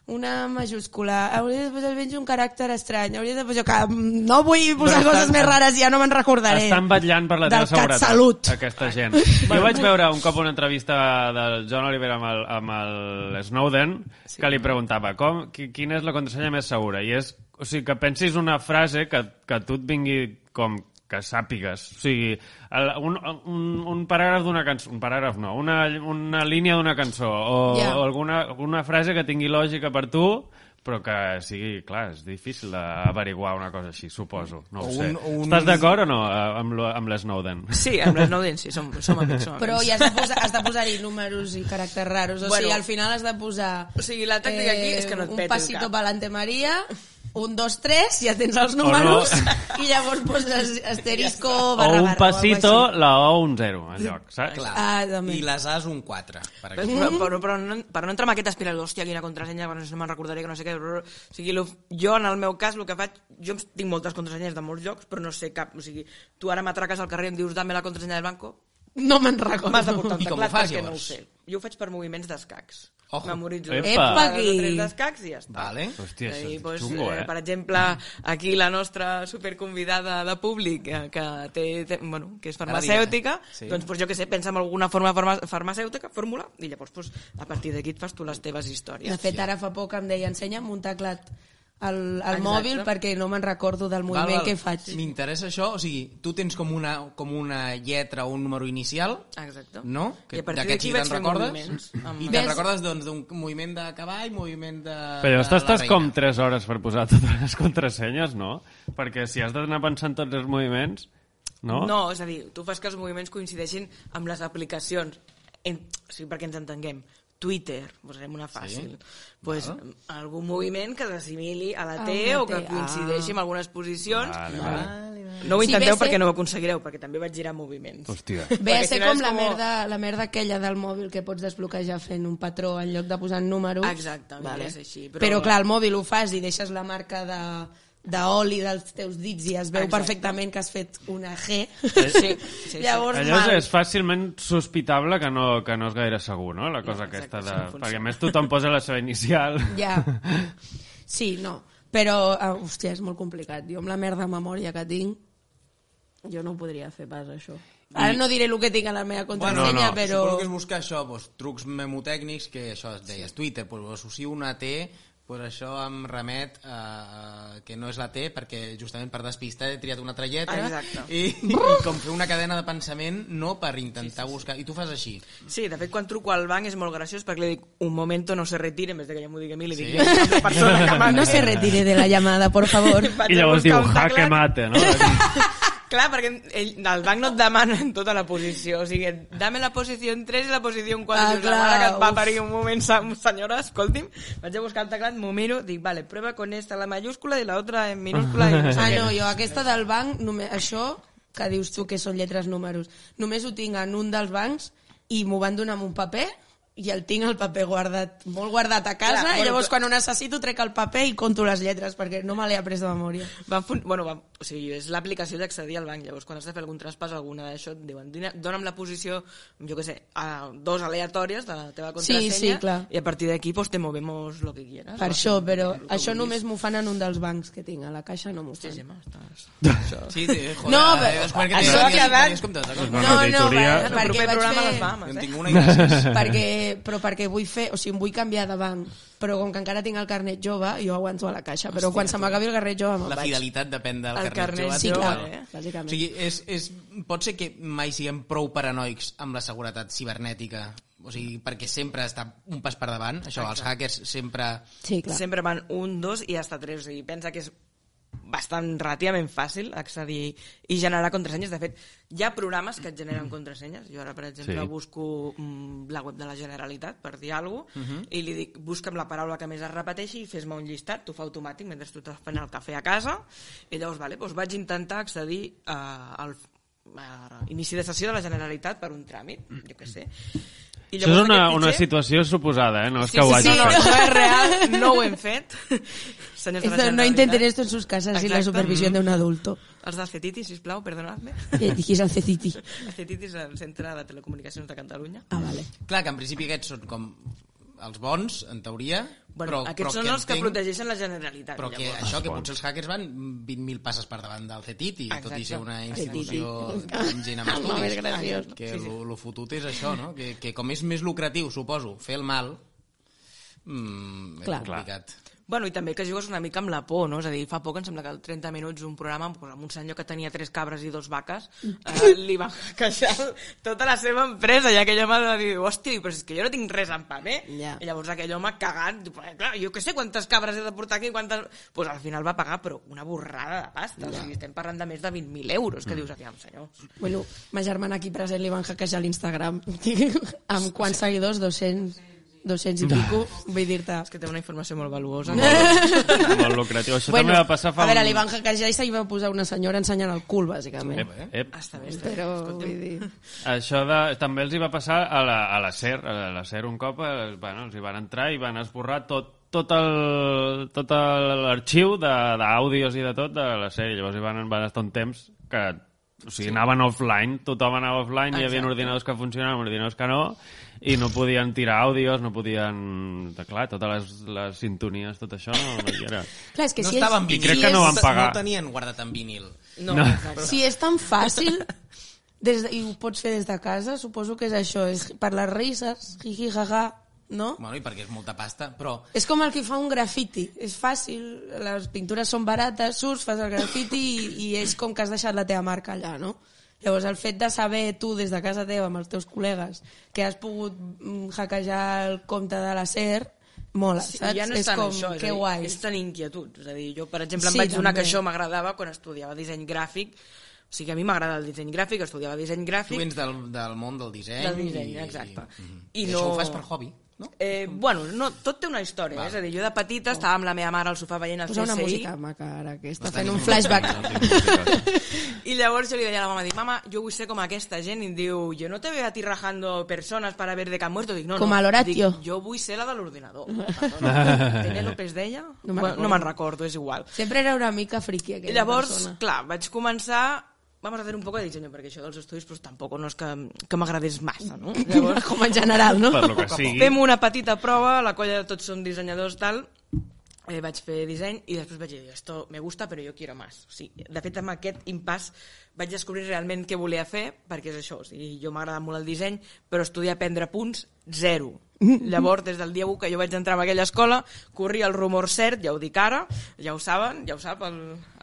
[SPEAKER 3] una majúscula, hauries de posar almenys un caràcter estrany, hauries de posar... Que mm, no vull posar
[SPEAKER 4] Però
[SPEAKER 3] coses
[SPEAKER 4] estan-
[SPEAKER 3] més rares, ja no me'n recordaré.
[SPEAKER 4] Estan batllant per la teva
[SPEAKER 3] Del
[SPEAKER 4] seguretat,
[SPEAKER 3] CatSalut.
[SPEAKER 4] aquesta
[SPEAKER 3] [laughs]
[SPEAKER 4] gent. Jo vaig veure un cop una entrevista del John Oliver amb el, amb el Snowden que li preguntava com, qui- quina és la contrasenya més segura i és, o sigui, que pensis una frase que, que tu et vingui com que sàpigues. O sigui, el, un, un, un paràgraf d'una cançó... Un paràgraf no, una, una línia d'una cançó o,
[SPEAKER 3] Ja.
[SPEAKER 4] yeah. o alguna, alguna frase que tingui lògica per tu però que sigui, clar, és difícil d'averiguar una cosa així, suposo. No ho
[SPEAKER 2] O
[SPEAKER 4] sé.
[SPEAKER 2] un- un-
[SPEAKER 4] Estàs d'acord o no eh, amb, lo, amb l'Snowden?
[SPEAKER 5] Sí, amb les Snowden sí, som, som amics. Som
[SPEAKER 3] Però
[SPEAKER 5] amics.
[SPEAKER 3] hi has de posar- has de posar-hi números i caràcters raros. O
[SPEAKER 5] Bueno.
[SPEAKER 3] sigui, al final has de posar... eh,
[SPEAKER 5] O sigui, la tàctica aquí és que no et
[SPEAKER 3] un
[SPEAKER 5] peti el
[SPEAKER 3] passito
[SPEAKER 5] cap.
[SPEAKER 3] pa'lante Maria, un, dos, tres, ja tens els números, [laughs] i llavors
[SPEAKER 5] [laughs]
[SPEAKER 3] poses asterisco,
[SPEAKER 4] O
[SPEAKER 3] barra, barra,
[SPEAKER 4] un passito,
[SPEAKER 3] O algo així.
[SPEAKER 4] la O un zero, en lloc, saps?
[SPEAKER 2] Clar.
[SPEAKER 3] Ah, també.
[SPEAKER 2] I les As un 4, per
[SPEAKER 5] [laughs] Però,
[SPEAKER 2] exemple.
[SPEAKER 5] però, però, però no, per no entrar en aquest espiral d'hòstia, quina contrasenya, quan no me'n recordaré, que no sé què... brr, brr. O sigui, lo, jo, en el meu cas, el que faig... Jo tinc moltes contrasenyes de molts llocs, però no sé cap. O sigui, tu ara m'atraques al carrer i em dius dame la contrasenya del banco,
[SPEAKER 3] No me'n
[SPEAKER 5] m'has
[SPEAKER 3] recordo.
[SPEAKER 5] de portar un
[SPEAKER 2] I com ho
[SPEAKER 5] teclat
[SPEAKER 2] fas,
[SPEAKER 5] perquè no ho
[SPEAKER 2] llavors?
[SPEAKER 5] sé. Jo ho faig per moviments d'escacs.
[SPEAKER 2] Oh.
[SPEAKER 5] Memoritzo
[SPEAKER 4] Epa.
[SPEAKER 5] dos o
[SPEAKER 3] Epaqui.
[SPEAKER 5] tres d'escacs i ja està.
[SPEAKER 2] Vale.
[SPEAKER 4] Hòstia,
[SPEAKER 5] Eh,
[SPEAKER 4] això
[SPEAKER 5] i,
[SPEAKER 4] és xungo, eh?
[SPEAKER 5] Per exemple, aquí la nostra superconvidada de públic, eh, que, té, té, bueno, que és farmacèutica,
[SPEAKER 2] Ara diré. Sí.
[SPEAKER 5] doncs, pues, jo que sé, pensa en alguna forma farma- farmacèutica, fórmula, i llavors pues, a partir d'aquí et fas tu les teves
[SPEAKER 3] De
[SPEAKER 5] històries.
[SPEAKER 3] fet, ara fa poc em deia, ensenya'm un teclat el, el
[SPEAKER 5] Exacte.
[SPEAKER 3] mòbil perquè no me'n recordo del moviment que faig.
[SPEAKER 2] M'interessa això, o sigui, tu tens com una, com una lletra o un número inicial,
[SPEAKER 5] Exacte.
[SPEAKER 2] no?
[SPEAKER 5] Ah. I a partir d'aquí
[SPEAKER 2] sí
[SPEAKER 5] vaig
[SPEAKER 2] te'n
[SPEAKER 5] fer
[SPEAKER 2] recordes?
[SPEAKER 5] moviments.
[SPEAKER 2] I
[SPEAKER 5] Amb...
[SPEAKER 2] te'n
[SPEAKER 3] Ves-
[SPEAKER 2] recordes doncs, d'un moviment de cavall, moviment de... de
[SPEAKER 4] Però llavors
[SPEAKER 2] la
[SPEAKER 4] t'estàs
[SPEAKER 2] reina.
[SPEAKER 4] com 3 hores per posar totes les contrasenyes, no? Perquè si has d'anar pensant tots els moviments, no?
[SPEAKER 5] No, és a dir, tu fas que els moviments coincideixin amb les aplicacions, en, o sigui, perquè ens entenguem. Twitter, posarem una fàcil. Sí? Pues,
[SPEAKER 4] Ah.
[SPEAKER 5] Algun moviment que s'assimili a la
[SPEAKER 3] A
[SPEAKER 5] T
[SPEAKER 3] una
[SPEAKER 5] o que
[SPEAKER 3] T, ah.
[SPEAKER 5] coincideixi amb algunes posicions.
[SPEAKER 4] Vale, vale.
[SPEAKER 5] No ho
[SPEAKER 3] Si ve
[SPEAKER 5] intenteu
[SPEAKER 3] a ser-
[SPEAKER 5] perquè no ho aconseguireu, perquè també vaig girar moviments.
[SPEAKER 4] Hòstia.
[SPEAKER 3] Ve a
[SPEAKER 5] Perquè
[SPEAKER 3] ser
[SPEAKER 5] si no
[SPEAKER 3] com
[SPEAKER 5] és
[SPEAKER 3] la
[SPEAKER 5] com-
[SPEAKER 3] merda, la merda aquella del mòbil que pots desbloquejar fent un patró en lloc de posar números.
[SPEAKER 5] Exacte, és així,
[SPEAKER 3] Però...
[SPEAKER 5] però-
[SPEAKER 3] però clar, el mòbil ho fas i deixes la marca de d'oli dels teus dits i es veu
[SPEAKER 5] Exacte.
[SPEAKER 3] perfectament que has fet una G. [laughs]
[SPEAKER 5] Sí, sí, sí.
[SPEAKER 3] Llavors,
[SPEAKER 4] Llavors
[SPEAKER 3] mal.
[SPEAKER 4] és fàcilment sospitable que no, que no és gaire segur, no? La cosa
[SPEAKER 5] No, exacte,
[SPEAKER 4] aquesta de...
[SPEAKER 5] això no funciona.
[SPEAKER 4] Perquè a més tothom posa la seva inicial. [laughs]
[SPEAKER 3] Ja. Sí, no. Però, ah, hòstia, és molt complicat. Jo amb la merda de memòria que tinc, jo no ho podria fer pas, això. Ara no diré el que tinc a la meva contrasenya,
[SPEAKER 4] Bueno, no, no.
[SPEAKER 3] però...
[SPEAKER 2] Suposo que és buscar això, doncs, trucs memotècnics, que això es deies sí. Twitter, doncs, associo una T, doncs això em remet a, a que no és la T, perquè justament per despistar he triat una altra lletra,
[SPEAKER 5] Ah, Exacte.
[SPEAKER 2] i, i com fer una cadena de pensament, no per intentar sí, sí, buscar... I tu fas així.
[SPEAKER 5] Sí, de fet, quan truco al banc és molt graciós perquè li dic un momento no se retire, en vez de que ja m'ho digui a mi, li dic
[SPEAKER 2] Sí.
[SPEAKER 5] sí. una persona
[SPEAKER 3] [laughs]
[SPEAKER 5] que m'ha...
[SPEAKER 3] [laughs] No se retire de la llamada, por
[SPEAKER 5] [laughs]
[SPEAKER 4] [laughs]
[SPEAKER 3] favor.
[SPEAKER 5] Vaig
[SPEAKER 4] I
[SPEAKER 5] a
[SPEAKER 4] llavors diu,
[SPEAKER 5] buscar un
[SPEAKER 4] jaque
[SPEAKER 5] teclat.
[SPEAKER 4] mate, no?
[SPEAKER 5] [laughs] Clar, perquè ell, el banc no et demana en tota la posició. O sigui, dame la posició en 3 i la posició en 4.
[SPEAKER 3] Ah,
[SPEAKER 5] Ah, clar,
[SPEAKER 3] clar,
[SPEAKER 5] la mare que et va
[SPEAKER 3] uf.
[SPEAKER 5] parir un moment, se- senyora, escolti'm. Vaig a buscar el teclat, m'ho miro, dic, vale, prueba con esta la mayúscula i la otra en minúscula. I no sé
[SPEAKER 3] Ah,
[SPEAKER 5] què.
[SPEAKER 3] no, jo aquesta del banc, només, això que dius tu que són lletres números, només ho tinc en un dels bancs i m'ho van donar amb un paper i el tinc el paper guardat, molt guardat a casa,
[SPEAKER 5] Clar,
[SPEAKER 3] i
[SPEAKER 5] bueno,
[SPEAKER 3] llavors
[SPEAKER 5] però-
[SPEAKER 3] quan ho necessito trec el paper i conto les lletres, perquè no me l'he après de memòria.
[SPEAKER 5] Van fun... bueno, van... o sigui, és l'aplicació d'accedir al banc. Llavors, quan has de fer algun traspàs o alguna d'això, et diuen, "Dina- dona'm la posició, jo què sé, a dos aleatòries de la teva contrasenya,
[SPEAKER 3] sí, clar.
[SPEAKER 5] i a partir d'aquí pues, te movemos lo que quieras.
[SPEAKER 3] Per
[SPEAKER 5] O
[SPEAKER 3] això,
[SPEAKER 5] sigui,
[SPEAKER 3] però
[SPEAKER 5] el que
[SPEAKER 3] això
[SPEAKER 5] vulguis.
[SPEAKER 3] només m'ho fan en un dels bancs que tinc, a la caixa no m'ho
[SPEAKER 5] Sí,
[SPEAKER 3] fan.
[SPEAKER 5] Gemma, estàs...
[SPEAKER 2] Sí, sí, joder, eh,
[SPEAKER 3] No,
[SPEAKER 2] ara
[SPEAKER 3] però-
[SPEAKER 2] he descobert que
[SPEAKER 3] això
[SPEAKER 2] tenia-
[SPEAKER 3] ha
[SPEAKER 2] tenia-
[SPEAKER 3] quedat-
[SPEAKER 2] tenies comptes, d'acord?
[SPEAKER 4] Bueno, auditoria.
[SPEAKER 3] va,
[SPEAKER 5] El
[SPEAKER 3] perquè
[SPEAKER 5] proper
[SPEAKER 3] vaig
[SPEAKER 5] programa
[SPEAKER 3] fer-
[SPEAKER 5] les Bahamas,
[SPEAKER 2] Jo en
[SPEAKER 5] eh?
[SPEAKER 2] tinc una i gràcies.
[SPEAKER 3] perquè, però perquè vull fer, o sigui, em vull canviar de banc, però com que encara tinc el carnet jove, jo aguanto a la caixa, però quan se m'acabi el carnet jove me'n
[SPEAKER 2] [laughs] La
[SPEAKER 3] vaig.
[SPEAKER 2] fidelitat depèn del
[SPEAKER 5] El
[SPEAKER 2] carnet,
[SPEAKER 5] carnet,
[SPEAKER 2] jove,
[SPEAKER 3] Sí,
[SPEAKER 2] tio.
[SPEAKER 3] clar,
[SPEAKER 5] eh?
[SPEAKER 2] O
[SPEAKER 3] bàsicament.
[SPEAKER 2] sigui, és, és, pot ser que mai siguem prou paranoics amb la seguretat cibernètica, o sigui, perquè sempre està un pas per davant, això, els hackers sempre...
[SPEAKER 3] Sí, clar.
[SPEAKER 5] Sempre van un, dos i hasta tres. O sigui, pensa que és bastant relativament fàcil accedir i generar contrasenyes. De fet, hi ha programes que et generen contrasenyes. Jo ara, per exemple,
[SPEAKER 4] Sí.
[SPEAKER 5] sí. busco mm, la web de la Generalitat, per dir alguna cosa,
[SPEAKER 4] Mhm.
[SPEAKER 5] i li dic, busca'm la paraula que més es repeteixi i fes-me un llistat, t'ho fa automàtic mentre tu estàs fent el cafè a casa, i llavors, vale, doncs vaig intentar accedir eh, al a inici de sessió de la Generalitat per un tràmit, jo què sé. I
[SPEAKER 4] Això és una,
[SPEAKER 5] aquest
[SPEAKER 4] una
[SPEAKER 5] fitxer-
[SPEAKER 4] situació suposada, eh? No és que
[SPEAKER 5] sí,
[SPEAKER 4] ho hagi
[SPEAKER 5] sí, no,
[SPEAKER 4] fet.
[SPEAKER 5] no és real, no ho hem fet. Senyors de la
[SPEAKER 3] Esto, no
[SPEAKER 5] Generalitat.
[SPEAKER 3] intenten esto en sus casas sin la
[SPEAKER 5] Exacte.
[SPEAKER 3] supervisión de un adulto.
[SPEAKER 5] Els del CETITI, sisplau, perdonadme. [laughs]
[SPEAKER 3] Que dijis al Ceciti.
[SPEAKER 5] El CETITI és el Centre de Telecomunicacions de Catalunya.
[SPEAKER 3] Ah, vale.
[SPEAKER 2] Clar, que en principi aquests són com els bons, en teoria,
[SPEAKER 5] Bueno,
[SPEAKER 2] però,
[SPEAKER 5] aquests
[SPEAKER 2] però
[SPEAKER 5] són els que
[SPEAKER 2] entenc-
[SPEAKER 5] protegeixen la Generalitat.
[SPEAKER 2] Però que
[SPEAKER 5] llavors.
[SPEAKER 2] això, que potser els hackers van 20.000 passes per davant del CETITI, Exacte. tot i
[SPEAKER 5] Exacte.
[SPEAKER 2] ser una
[SPEAKER 5] CETITI.
[SPEAKER 2] institució amb gent amb
[SPEAKER 3] Home, més
[SPEAKER 2] estudis.
[SPEAKER 3] graciós.
[SPEAKER 2] que sí, lo, lo fotut és això, no? Que, que com és més lucratiu, suposo, fer el mal, mm, és
[SPEAKER 3] Clar.
[SPEAKER 2] complicat.
[SPEAKER 5] Bueno, i també que jugues una mica amb la por, no? És a dir, fa poc em sembla que el 30 minuts un programa pues, amb un senyor que tenia tres cabres i dos vaques eh, li va queixar tota la seva empresa i aquell home va dir, hòstia, però és que jo no tinc res en paper.
[SPEAKER 3] Ja.
[SPEAKER 5] I llavors aquell home cagant, diu, "Però, clar, jo què sé quantes cabres he de portar aquí, quantes... pues, al final va pagar, però una borrada de pasta. O sigui, estem parlant de més de 20.000 euros, que dius, aviam, senyor.
[SPEAKER 3] Bueno, ma germana aquí present li van hackejar l'Instagram. [laughs] Amb quants seguidors? 200, 200 i pico. Vull dir-te...
[SPEAKER 5] És que té una informació molt valuosa.
[SPEAKER 4] Molt lucratiu. Això també va passar fa...
[SPEAKER 3] a veure,
[SPEAKER 4] un-
[SPEAKER 3] li van hackejar i se li va posar una senyora ensenyant el cul, bàsicament.
[SPEAKER 4] Ep, ep.
[SPEAKER 5] Està bé, està bé.
[SPEAKER 3] Però, vull dir...
[SPEAKER 4] Això de, també els hi va passar a la, a la SER, a la SER un cop eh, bueno, els hi van entrar i van esborrar tot, tot el- tot el- l'arxiu de- d'àudios i de tot de la SER. I llavors hi van, van estar un temps que o sigui, anaven offline, tothom anava offline, hi havia
[SPEAKER 5] Exacte.
[SPEAKER 4] ordinadors que funcionaven, ordinadors que no, i no podien tirar àudios, no podien... Clar, totes les, les sintonies, tot això, no, no hi era.
[SPEAKER 5] [laughs]
[SPEAKER 3] Clar, és que
[SPEAKER 2] no
[SPEAKER 3] si,
[SPEAKER 2] estava en
[SPEAKER 4] I
[SPEAKER 3] és,
[SPEAKER 2] vinil.
[SPEAKER 4] crec que no van pagar.
[SPEAKER 2] No tenien guardat en vinil.
[SPEAKER 5] No,
[SPEAKER 4] No.
[SPEAKER 5] exacte.
[SPEAKER 3] si és tan fàcil... Des de, I ho pots fer des de casa, suposo que és això, és per les risses, jiji, jaja, no?
[SPEAKER 2] Bueno, i perquè és molta pasta, però...
[SPEAKER 3] És com el que fa un grafiti. És fàcil, les pintures són barates, surts, fas el grafiti i, i és com que has deixat la teva marca allà, no? Llavors, el fet de saber tu des de casa teva amb els teus col·legues que has pogut mm, hackejar el compte de la SER, mola,
[SPEAKER 5] Sí,
[SPEAKER 3] saps?
[SPEAKER 5] ja no
[SPEAKER 3] és
[SPEAKER 5] tant
[SPEAKER 3] com,
[SPEAKER 5] això, és, a
[SPEAKER 3] que
[SPEAKER 5] dir,
[SPEAKER 3] guai.
[SPEAKER 5] és tan inquietud. És a dir, jo, per exemple, em
[SPEAKER 3] Sí,
[SPEAKER 5] vaig donar
[SPEAKER 3] també.
[SPEAKER 5] que això m'agradava quan estudiava disseny gràfic. O sigui, a mi m'agrada el disseny gràfic, estudiava disseny
[SPEAKER 2] Tu
[SPEAKER 5] gràfic.
[SPEAKER 2] vens del, del món del disseny.
[SPEAKER 5] Del disseny, exacte.
[SPEAKER 2] I,
[SPEAKER 5] I
[SPEAKER 2] I això
[SPEAKER 5] no-
[SPEAKER 2] ho fas per hobby, no?
[SPEAKER 5] Eh, bueno, no, tot té una història, eh? és a dir, jo de petita estava amb la meva mare al sofà veient el
[SPEAKER 3] Posa Oh. una
[SPEAKER 5] CSI
[SPEAKER 3] música maca ara, que està fent un flashback.
[SPEAKER 5] [laughs] i llavors jo li deia a la mama, dic, mama, jo vull ser com aquesta gent i em diu, jo no te veo a ti rajando personas para ver de que han muerto, dic, no,
[SPEAKER 3] Com
[SPEAKER 5] no,
[SPEAKER 3] a l'Horatio.
[SPEAKER 5] Dic, jo vull ser la de
[SPEAKER 3] [laughs]
[SPEAKER 5] l'ordinador. Penèlopes d'ella?
[SPEAKER 3] No me'n
[SPEAKER 5] No me'n bueno, no me'n recordo, és igual.
[SPEAKER 3] Sempre era una mica friki
[SPEAKER 5] I
[SPEAKER 3] aquella
[SPEAKER 5] llavors,
[SPEAKER 3] persona.
[SPEAKER 5] clar, vaig començar... Vamos a hacer un poco de diseño, perquè això dels estudis pues, tampoc no és que, que m'agradés massa,
[SPEAKER 3] [laughs]
[SPEAKER 5] no? Llavors,
[SPEAKER 3] com en general, no?
[SPEAKER 4] Per lo que sigui.
[SPEAKER 5] Fem una petita prova, la colla de tots som dissenyadors, tal, eh, vaig fer disseny i després vaig dir, esto me gusta però jo quiero más. O sigui, de fet, amb aquest impàs vaig descobrir realment què volia fer, perquè és això, o sigui, jo m'agrada molt el disseny, però estudiar prendre punts, zero. Llavors, des del dia 1 que jo vaig entrar en aquella escola, corria el rumor cert, ja ho dic ara, ja ho saben, ja ho sap el,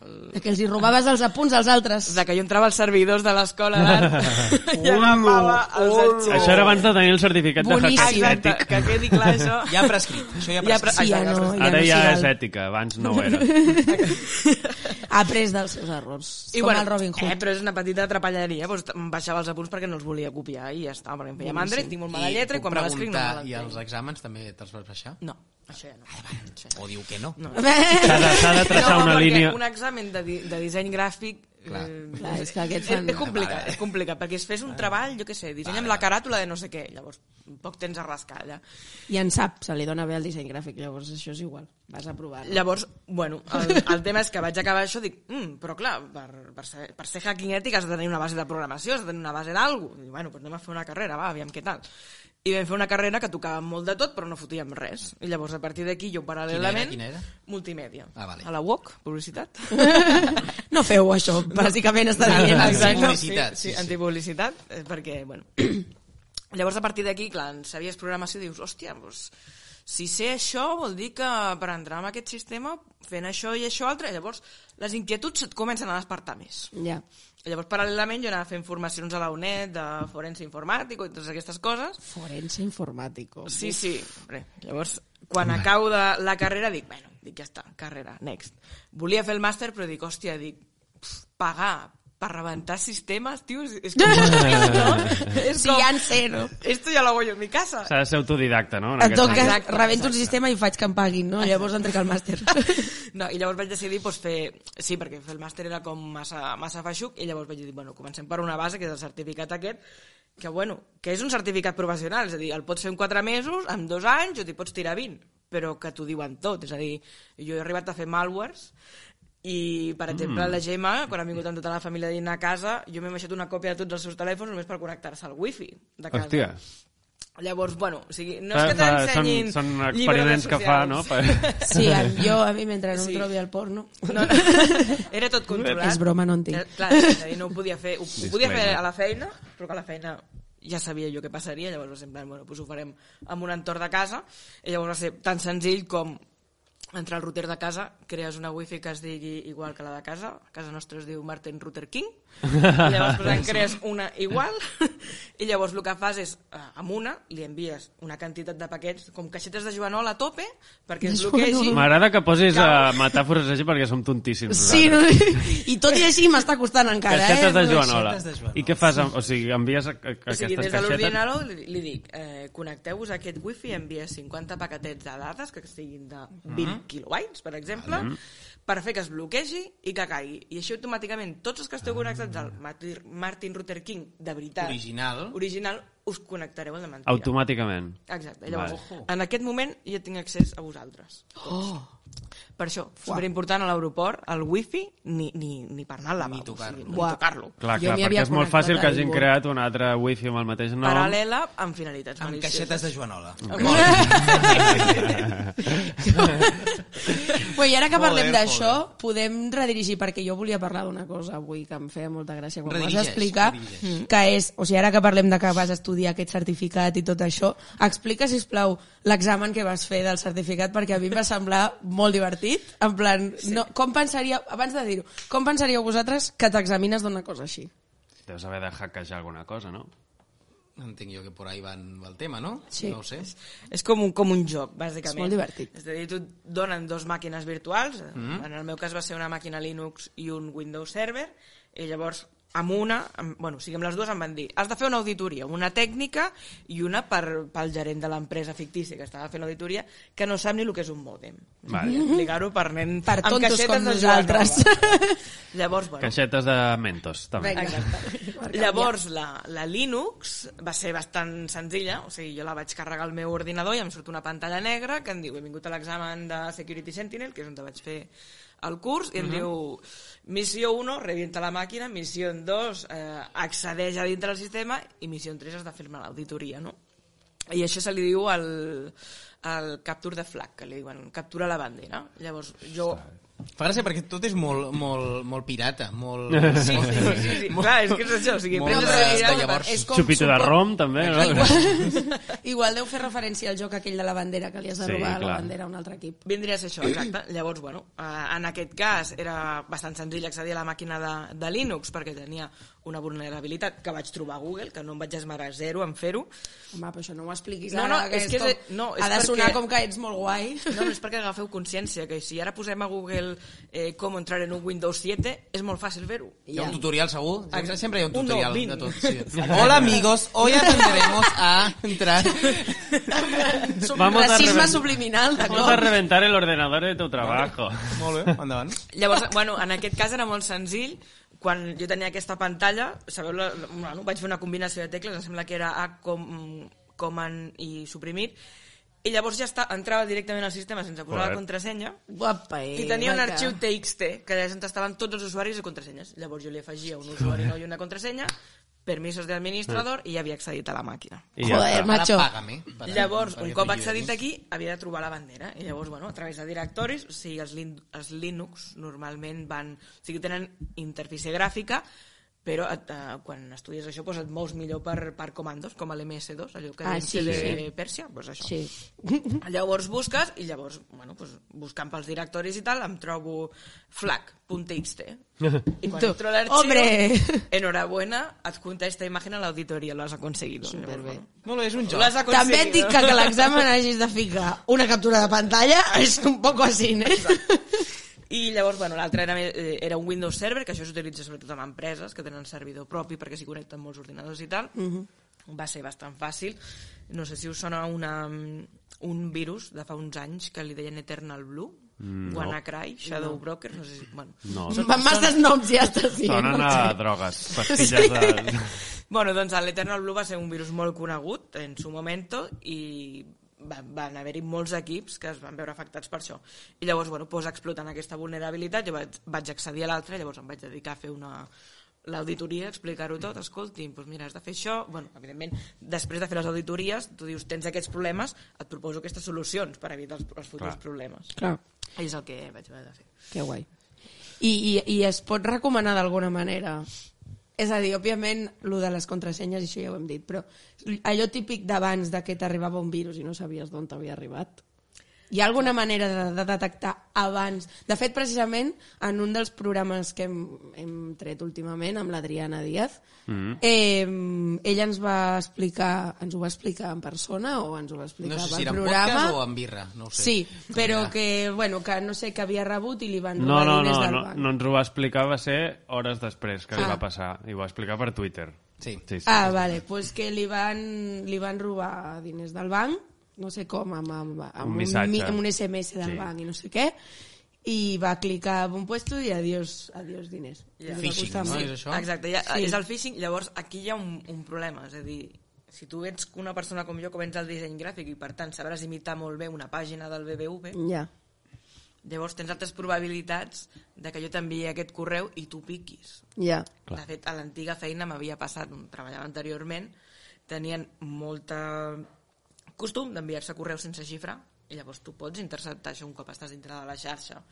[SPEAKER 5] el...
[SPEAKER 3] Que els hi robaves els apunts als altres.
[SPEAKER 5] de que jo entrava als servidors de l'escola
[SPEAKER 4] [laughs]
[SPEAKER 5] d'art i agafava els arxius.
[SPEAKER 4] Això era abans de tenir el certificat de
[SPEAKER 3] Boníssim.
[SPEAKER 4] hacking
[SPEAKER 5] Exacte,
[SPEAKER 4] ètic.
[SPEAKER 5] que quedi clar això.
[SPEAKER 2] Ja ha prescrit, això ja ha
[SPEAKER 5] Ja
[SPEAKER 2] prescrit.
[SPEAKER 5] pre-
[SPEAKER 3] Sí, ja
[SPEAKER 5] Exacte,
[SPEAKER 3] no, ja
[SPEAKER 4] Ara
[SPEAKER 3] no
[SPEAKER 4] ja
[SPEAKER 3] serà
[SPEAKER 4] és
[SPEAKER 3] el-
[SPEAKER 4] ètica, abans no ho era.
[SPEAKER 3] ha après dels seus errors. I com bueno, el Robin Hood.
[SPEAKER 5] Eh, però és una petita trapalleria, doncs em baixava els apunts perquè no els volia copiar i ja està, perquè em feia mandra, i tinc molt mala lletra i
[SPEAKER 2] puc
[SPEAKER 5] quan me l'escric no me
[SPEAKER 2] preguntar, I els
[SPEAKER 5] l'escric.
[SPEAKER 2] exàmens també te'ls vas baixar?
[SPEAKER 5] No, això ja no. Això ja no.
[SPEAKER 2] O diu que no?
[SPEAKER 5] No.
[SPEAKER 4] S'ha de, s'ha de traçar
[SPEAKER 5] no,
[SPEAKER 4] una
[SPEAKER 5] perquè
[SPEAKER 4] línia...
[SPEAKER 5] un examen de, di- de disseny gràfic
[SPEAKER 2] Clar.
[SPEAKER 5] eh,
[SPEAKER 3] Clar, és que aquests
[SPEAKER 5] és,
[SPEAKER 3] fan-
[SPEAKER 5] és complicat, és complicat, perquè es fes un treball, jo què sé, disseny amb la caràtula de no sé què, llavors poc tens a rascar allà.
[SPEAKER 3] I en sap, se li dona bé el disseny gràfic, llavors això és igual. Vas a provar.
[SPEAKER 5] Llavors, bueno, el, el tema és que vaig acabar això, dic, mm, però clar, per, per, ser, per ser hacking ètic has de tenir una base de programació, has de tenir una base d'algú. Dic, bueno, doncs anem a fer una carrera, va, aviam què tal. I vam fer una carrera que tocava molt de tot, però no fotíem res. I llavors, a partir d'aquí, jo paral·lelament...
[SPEAKER 2] Quina era, quina era?
[SPEAKER 5] Multimèdia.
[SPEAKER 2] Ah, vale.
[SPEAKER 5] A la UOC, publicitat.
[SPEAKER 2] [laughs]
[SPEAKER 3] No feu això, bàsicament està dient.
[SPEAKER 2] no,
[SPEAKER 3] Exacte.
[SPEAKER 2] Antipublicitat,
[SPEAKER 5] Sí, sí,
[SPEAKER 2] sí, sí.
[SPEAKER 5] antipublicitat, eh, perquè, bueno... [clears throat] Llavors, a partir d'aquí, clar, en sabies programació, dius, hòstia, doncs, si sé això, vol dir que per entrar en aquest sistema, fent això i això altre, llavors les inquietuds et comencen a despertar més.
[SPEAKER 3] Ja.
[SPEAKER 5] Llavors, paral·lelament, jo anava fent formacions a la UNED de forense informàtic i totes aquestes coses.
[SPEAKER 3] Forense informàtico.
[SPEAKER 5] Sí, sí. Re. Llavors, quan acabo de la carrera, dic, bueno, dic, ja està, carrera, next. Volia fer el màster, però dic, hòstia, dic, pf, pagar per rebentar sistemes, tio, és,
[SPEAKER 3] [laughs]
[SPEAKER 5] és com... [laughs] no? és
[SPEAKER 3] Si ja en sé, no?
[SPEAKER 5] Esto ya lo hago yo en mi casa.
[SPEAKER 4] S'ha de ser autodidacta, no? En
[SPEAKER 3] En
[SPEAKER 4] aquest
[SPEAKER 3] tot
[SPEAKER 4] sentit.
[SPEAKER 3] cas,
[SPEAKER 5] Exacte,
[SPEAKER 3] rebento un
[SPEAKER 5] exacte.
[SPEAKER 3] sistema i faig que em paguin, no? Llavors entrec al [laughs] màster.
[SPEAKER 5] [laughs] No, i llavors vaig decidir pues, fer... Sí, perquè fer el màster era com massa, massa feixuc i llavors vaig dir, bueno, comencem per una base, que és el certificat aquest, que, bueno, que és un certificat professional, és a dir, el pots fer en 4 mesos, en 2 anys, o t'hi pots tirar 20, però que t'ho diuen tot, és a dir, jo he arribat a fer malwares, i, per exemple,
[SPEAKER 4] Mm.
[SPEAKER 5] la Gemma, quan ha vingut amb tota la família a dinar a casa, jo m'he baixat una còpia de tots els seus telèfons només per connectar-se al wifi de casa.
[SPEAKER 4] Hòstia.
[SPEAKER 5] Llavors, bueno, o sigui, no
[SPEAKER 4] Fa-
[SPEAKER 5] és que
[SPEAKER 4] fa-
[SPEAKER 5] t'ensenyin
[SPEAKER 4] són- són
[SPEAKER 5] llibres
[SPEAKER 4] experiments que fa, no?
[SPEAKER 5] [laughs]
[SPEAKER 4] Per-
[SPEAKER 3] Sí, el- jo a mi mentre no em
[SPEAKER 5] Sí.
[SPEAKER 3] trobi el porno... [laughs]
[SPEAKER 5] No, no. Era tot controlat.
[SPEAKER 3] És broma, no en tinc.
[SPEAKER 5] Eh, Clar, és a dir, no ho podia fer. Ho, ho podia fer
[SPEAKER 4] Disclaimer.
[SPEAKER 5] a la feina, però que a la feina ja sabia jo què passaria, llavors va ser en plan, bueno, doncs ho farem amb un entorn de casa, i llavors va ser tan senzill com entrar al router de casa, crees una wifi que es digui igual que la de casa, a casa nostra es diu Martin Router King, i llavors pues, en crees una igual, i llavors el que fas és, eh, amb una, li envies una quantitat de paquets, com caixetes de Joanola a tope, perquè es bloquegi,
[SPEAKER 4] M'agrada que posis a metàfores així perquè som tontíssims.
[SPEAKER 3] Sí, no?
[SPEAKER 4] nosaltres.
[SPEAKER 3] i tot i així m'està costant encara,
[SPEAKER 4] Caixetes de
[SPEAKER 3] eh?
[SPEAKER 4] Joanola.
[SPEAKER 2] Caixetes de Joanola.
[SPEAKER 4] I què fas? amb- O sigui, envies a, a, a
[SPEAKER 5] O
[SPEAKER 4] aquestes
[SPEAKER 5] sigui, des de
[SPEAKER 4] caixetes...
[SPEAKER 5] l'ordinador li, li dic, eh, connecteu-vos a aquest wifi i envia 50 paquetets de dades que siguin de 20 kilobytes, per exemple, per fer que es bloquegi i que caigui. I això automàticament, tots els que esteu connectats al Martin- Martin Luther King, de veritat,
[SPEAKER 2] Original.
[SPEAKER 5] original us connectareu al de mentida.
[SPEAKER 4] Automàticament.
[SPEAKER 5] Exacte. Llavors,
[SPEAKER 4] Vale.
[SPEAKER 5] en aquest moment ja tinc accés a vosaltres. Oh! Per això, superimportant a l'aeroport, el wifi, ni, ni, ni per anar al lavabo, o sigui,
[SPEAKER 2] tocar-lo.
[SPEAKER 5] ni
[SPEAKER 3] Uah.
[SPEAKER 5] tocar-lo.
[SPEAKER 4] Clar,
[SPEAKER 3] Jo
[SPEAKER 4] clar,
[SPEAKER 3] m'hi
[SPEAKER 4] perquè
[SPEAKER 3] havia
[SPEAKER 4] és molt fàcil
[SPEAKER 3] connectat
[SPEAKER 4] que
[SPEAKER 3] a
[SPEAKER 4] hagin
[SPEAKER 3] ningú.
[SPEAKER 4] creat un altre wifi amb el mateix nom.
[SPEAKER 5] Paral·lela amb finalitats
[SPEAKER 2] Amb
[SPEAKER 5] malicioses.
[SPEAKER 2] caixetes de Joanola.
[SPEAKER 5] [laughs]
[SPEAKER 3] Bé, I ara que
[SPEAKER 2] Molt
[SPEAKER 3] parlem
[SPEAKER 2] bé,
[SPEAKER 3] d'això, podem redirigir, perquè jo volia parlar d'una cosa avui que em feia molta gràcia quan ho vas
[SPEAKER 2] Redirigeix,
[SPEAKER 3] explicar, Mm.
[SPEAKER 2] redirigeix.
[SPEAKER 3] que és, o sigui, ara que parlem de que vas estu- estudiar aquest certificat i tot això. Explica, si plau l'examen que vas fer del certificat, perquè a mi em va semblar molt divertit. En plan, no, com pensaria, abans de dir-ho, com pensaríeu vosaltres que t'examines d'una cosa així?
[SPEAKER 4] Deus haver de hackejar alguna cosa, no?
[SPEAKER 2] Entenc jo que por ahí va el tema, no?
[SPEAKER 3] Sí.
[SPEAKER 2] No ho sé.
[SPEAKER 5] És com un, com un joc,
[SPEAKER 3] És
[SPEAKER 5] bàsicament.
[SPEAKER 3] molt divertit.
[SPEAKER 5] És a dir, tu et donen dos màquines virtuals, mm -hmm. en el meu cas va ser una màquina Linux i un Windows Server, i llavors amb una, amb, bueno, o sigui, amb les dues em van dir has de fer una auditoria, una tècnica i una per, pel gerent de l'empresa fictícia que estava fent l'auditoria, que no sap ni el que és un mòdem.
[SPEAKER 4] Vale.
[SPEAKER 5] Explicar-ho per nen
[SPEAKER 3] Per
[SPEAKER 5] amb
[SPEAKER 3] tontos
[SPEAKER 5] caixetes
[SPEAKER 3] com
[SPEAKER 5] de Joan Roba.
[SPEAKER 3] nosaltres.
[SPEAKER 5] Llavors, bueno,
[SPEAKER 4] Caixetes de Mentos, també.
[SPEAKER 3] Vinga.
[SPEAKER 5] Exacte. Llavors, la, la Linux va ser bastant senzilla, o sigui, jo la vaig carregar al meu ordinador i em surt una pantalla negra que em diu, he vingut a l'examen de Security Sentinel, que és on vaig fer el curs, i em diu, missió 1, revienta la màquina, missió 2, eh, accedeix a dintre del sistema, i missió 3 has de fer-me l'auditoria, no? I això se li diu el, el capture de flag, que li diuen captura la bandera. Llavors, jo
[SPEAKER 2] Fa gràcia perquè tot és molt, molt, molt pirata, molt...
[SPEAKER 5] Sí, sí, sí,
[SPEAKER 2] [laughs]
[SPEAKER 5] sí, sí. clar, és que és això, o sigui,
[SPEAKER 2] Molt
[SPEAKER 5] prens
[SPEAKER 2] de-
[SPEAKER 5] la
[SPEAKER 2] de
[SPEAKER 5] bandera,
[SPEAKER 2] llavors.
[SPEAKER 3] és com
[SPEAKER 4] Xupito de
[SPEAKER 3] supo-
[SPEAKER 4] rom, també, no?
[SPEAKER 3] Igual [laughs] deu fer referència al joc aquell de la bandera, que li has de
[SPEAKER 4] Sí,
[SPEAKER 3] robar la
[SPEAKER 4] clar.
[SPEAKER 3] bandera a un altre equip.
[SPEAKER 5] Vindria a ser això, exacte. [clears throat] Llavors, bueno, eh, en aquest cas era bastant senzill accedir a la màquina de, de Linux perquè tenia una vulnerabilitat que vaig trobar a Google, que no em vaig esmerar zero en fer-ho.
[SPEAKER 3] Home, però això no m'ho expliquis
[SPEAKER 5] No,
[SPEAKER 3] ara,
[SPEAKER 5] no, és que és-
[SPEAKER 3] com-
[SPEAKER 5] no, és
[SPEAKER 3] ha de sonar
[SPEAKER 5] perquè-
[SPEAKER 3] com que ets molt guai.
[SPEAKER 5] No, no és perquè agafeu consciència, que si ara posem a Google eh, com entrar en un Windows 7, és molt fàcil fer-ho.
[SPEAKER 2] Hi ha un tutorial segur? Sempre, sempre hi ha un
[SPEAKER 5] Un no,
[SPEAKER 2] tutorial
[SPEAKER 5] vint.
[SPEAKER 2] de tot.
[SPEAKER 5] [laughs]
[SPEAKER 2] Sí. Hola, amigos. Hoy aprenderemos a
[SPEAKER 5] [laughs]
[SPEAKER 2] entrar...
[SPEAKER 3] Sub-
[SPEAKER 4] Vamos a
[SPEAKER 3] Racisme
[SPEAKER 4] reven-
[SPEAKER 3] subliminal,
[SPEAKER 4] Vamos a
[SPEAKER 3] d'acord?
[SPEAKER 4] reventar el ordenador de tu trabajo.
[SPEAKER 2] Molt bé, endavant.
[SPEAKER 5] Llavors, bueno, en aquest cas era molt senzill, quan jo tenia aquesta pantalla, sabeu, la, la, bueno, vaig fer una combinació de tecles, em sembla que era A com, com en, i suprimit, i llavors ja està, entrava directament al sistema sense posar
[SPEAKER 4] Joder.
[SPEAKER 5] la contrasenya,
[SPEAKER 3] Guapa, eh?
[SPEAKER 5] i tenia un
[SPEAKER 3] maca.
[SPEAKER 5] arxiu TXT, que allà és on estaven tots els usuaris i contrasenyes. Llavors jo li afegia un usuari nou i una contrasenya, permisos de administrador, i ja havia accedit a la màquina.
[SPEAKER 4] I ja
[SPEAKER 3] Joder,
[SPEAKER 4] està.
[SPEAKER 3] macho.
[SPEAKER 2] Ara pàgame. per-
[SPEAKER 5] Llavors,
[SPEAKER 2] perquè
[SPEAKER 5] un cop
[SPEAKER 2] t'ho
[SPEAKER 5] accedit
[SPEAKER 2] lliuris.
[SPEAKER 5] aquí, havia de trobar la bandera. I llavors, bueno, a través de directoris, o sigui, els, lin els Linux normalment van... O sigui, tenen interfície gràfica, però et, eh, quan estudies això doncs et mous millor per, per comandos, com a l'MS2, allò que
[SPEAKER 3] Ah,
[SPEAKER 5] vam
[SPEAKER 3] sí,
[SPEAKER 5] fer de
[SPEAKER 3] sí.
[SPEAKER 5] Pèrsia, doncs això.
[SPEAKER 3] Sí.
[SPEAKER 5] [laughs] Llavors busques i llavors, bueno, doncs, buscant pels directoris i tal, em trobo flag.txt.
[SPEAKER 2] [laughs]
[SPEAKER 5] I quan
[SPEAKER 3] Tu,
[SPEAKER 5] entro a l'arxiu,
[SPEAKER 3] hombre.
[SPEAKER 5] enhorabuena, adjunta esta imagen a l'auditoria, l'has aconseguido. Superbé.
[SPEAKER 2] Molt bé, és un joc.
[SPEAKER 5] L'has eh? aconseguido.
[SPEAKER 3] També et dic que, que l'examen hagis de ficar una captura de pantalla és un poc així, eh?
[SPEAKER 5] I llavors, bueno, l'altre era, eh, era un Windows Server, que això s'utilitza sobretot en empreses que tenen servidor propi perquè s'hi connecten molts ordinadors i tal.
[SPEAKER 3] Mhm.
[SPEAKER 5] Va ser bastant fàcil. No sé si us sona una, mm, un virus de fa uns anys que li deien Eternal Blue, mm, WannaCry, Shadow Broker, no sé si... Bueno,
[SPEAKER 4] No,
[SPEAKER 3] Masses noms ja estàs dient.
[SPEAKER 4] sonen a drogues, pastilles
[SPEAKER 3] [laughs]
[SPEAKER 4] de...
[SPEAKER 5] Bueno, doncs l'Eternal Blue va ser un virus molt conegut en su momento i va- van haver-hi molts equips que es van veure afectats per això. I llavors, bueno, doncs explotant aquesta vulnerabilitat, jo vaig, vaig accedir a l'altra, llavors em vaig dedicar a fer una l'auditoria, explicar-ho tot, escolti, doncs mira, has de fer això, bueno, evidentment, després de fer les auditories, tu dius, tens aquests problemes, et proposo aquestes solucions per evitar els, els futurs
[SPEAKER 4] Clar.
[SPEAKER 5] problemes.
[SPEAKER 3] Clar,
[SPEAKER 5] I és el que vaig haver de fer.
[SPEAKER 3] que guai. I, i, I es pot recomanar d'alguna manera? És a dir, òbviament, lo de les contrasenyes, això ja ho hem dit, però allò típic d'abans de que t'arribava un virus i no sabies d'on t'havia arribat, Hi ha alguna manera de, de detectar abans? De fet, precisament, en un dels programes que hem, hem tret últimament amb l'Adriana Díaz, mm. eh, ella ens va explicar, ens ho va explicar en persona o ens ho va explicar
[SPEAKER 2] No sé si
[SPEAKER 3] per
[SPEAKER 2] era en
[SPEAKER 3] programa?
[SPEAKER 2] podcast o en birra, no ho sé.
[SPEAKER 3] Sí, però
[SPEAKER 2] Ja.
[SPEAKER 3] que, bueno, que no sé, que havia rebut i li van
[SPEAKER 4] No,
[SPEAKER 3] donar
[SPEAKER 4] no,
[SPEAKER 3] diners
[SPEAKER 4] no,
[SPEAKER 3] del
[SPEAKER 4] no,
[SPEAKER 3] banc.
[SPEAKER 4] no ens ho va explicar, va ser hores després que li
[SPEAKER 3] Ah.
[SPEAKER 4] va passar. I ho va explicar per Twitter.
[SPEAKER 2] Sí.
[SPEAKER 4] sí, sí.
[SPEAKER 3] Ah, vale, doncs pues que li van, li van robar diners del banc, no sé com, amb, amb, amb,
[SPEAKER 4] missatge.
[SPEAKER 3] mi- amb un SMS del
[SPEAKER 4] Sí.
[SPEAKER 3] sí. banc i no sé què, i va clicar en un puesto i adiós, adiós diners. I
[SPEAKER 5] Ja.
[SPEAKER 3] li va
[SPEAKER 2] Phishing,
[SPEAKER 3] costar
[SPEAKER 2] no?
[SPEAKER 3] molt.
[SPEAKER 2] És això?
[SPEAKER 5] Exacte, ja,
[SPEAKER 3] Sí.
[SPEAKER 5] sí. és el phishing, llavors aquí hi ha un, un problema, és a dir, si tu ets una persona com jo que vens al disseny gràfic i per tant sabràs imitar molt bé una pàgina del BBV,
[SPEAKER 3] Ja.
[SPEAKER 5] llavors tens altres probabilitats de que jo t'enviï aquest correu i tu piquis.
[SPEAKER 3] Ja.
[SPEAKER 4] Clar.
[SPEAKER 5] De fet, a l'antiga feina m'havia passat, on treballava anteriorment, tenien molta costum d'enviar-se correus sense xifra i llavors tu pots interceptar això un cop estàs dintre de la xarxa.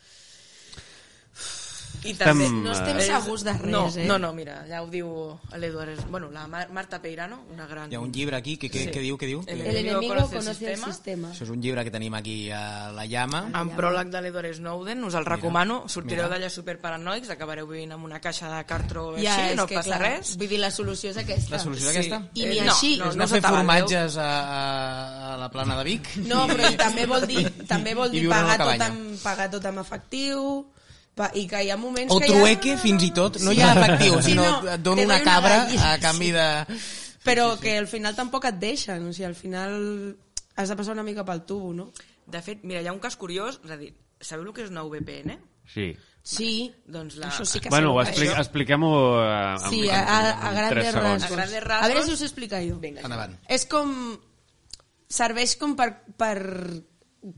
[SPEAKER 5] I també...
[SPEAKER 4] Estem,
[SPEAKER 3] No estem
[SPEAKER 4] eh,
[SPEAKER 3] segurs de res,
[SPEAKER 5] no,
[SPEAKER 3] eh?
[SPEAKER 5] No, no, mira, ja ho diu l'Eduard... Es- Bueno, la Mar Marta Peirano, una gran...
[SPEAKER 2] Hi ha un llibre aquí, que, que,
[SPEAKER 5] Sí.
[SPEAKER 2] que diu, que diu?
[SPEAKER 5] El
[SPEAKER 2] Que...
[SPEAKER 3] El enemigo
[SPEAKER 5] conoce el
[SPEAKER 3] conoce el
[SPEAKER 5] sistema.
[SPEAKER 3] sistema.
[SPEAKER 2] Això és un llibre que tenim aquí a la llama.
[SPEAKER 5] amb pròleg de l'Edward Snowden, us el recomano, sortireu d'allà superparanoics, acabareu vivint amb una caixa de cartró així,
[SPEAKER 3] és
[SPEAKER 5] no
[SPEAKER 3] que,
[SPEAKER 5] passa
[SPEAKER 3] clar,
[SPEAKER 5] res.
[SPEAKER 3] Vull dir, la solució és aquesta.
[SPEAKER 2] La solució és aquesta?
[SPEAKER 3] I ni
[SPEAKER 5] Eh,
[SPEAKER 3] així.
[SPEAKER 5] No,
[SPEAKER 2] és
[SPEAKER 5] no
[SPEAKER 2] anar a fer
[SPEAKER 5] s'ataballeu.
[SPEAKER 3] eh?
[SPEAKER 2] formatges a, a, a la plana de Vic.
[SPEAKER 3] No, però també vol
[SPEAKER 2] [laughs]
[SPEAKER 3] dir, també vol
[SPEAKER 2] I
[SPEAKER 3] dir
[SPEAKER 2] viure en una
[SPEAKER 3] pagar, tot
[SPEAKER 2] cabanya.
[SPEAKER 3] amb, pagar tot amb efectiu, pa, i que hi ha moments
[SPEAKER 2] O
[SPEAKER 3] que
[SPEAKER 2] trueque,
[SPEAKER 3] hi ha...
[SPEAKER 2] fins i tot. No hi ha efectiu,
[SPEAKER 3] Sí,
[SPEAKER 2] sinó
[SPEAKER 3] no,
[SPEAKER 2] et
[SPEAKER 3] te
[SPEAKER 2] dono
[SPEAKER 3] doy
[SPEAKER 2] una
[SPEAKER 3] una
[SPEAKER 2] cabra
[SPEAKER 3] gallina,
[SPEAKER 2] a canvi de...
[SPEAKER 3] Però que al final tampoc et deixen, o sigui, al final has de passar una mica pel tubo, no?
[SPEAKER 5] De fet, mira, hi ha un cas curiós, és a dir, sabeu el que és una VPN?
[SPEAKER 4] Sí.
[SPEAKER 3] Sí,
[SPEAKER 5] Doncs la...
[SPEAKER 3] això sí que
[SPEAKER 4] Bueno, ho
[SPEAKER 3] segur que
[SPEAKER 4] expli
[SPEAKER 3] això.
[SPEAKER 4] expliquem-ho eh, en,
[SPEAKER 3] Sí,
[SPEAKER 4] en,
[SPEAKER 3] a, a, a
[SPEAKER 4] en
[SPEAKER 3] grandes
[SPEAKER 4] tres segons.
[SPEAKER 3] rasgos.
[SPEAKER 5] A grandes rasgos.
[SPEAKER 3] A veure si us ho explica jo.
[SPEAKER 5] Vinga.
[SPEAKER 2] Endavant.
[SPEAKER 3] És com... Serveix com per, per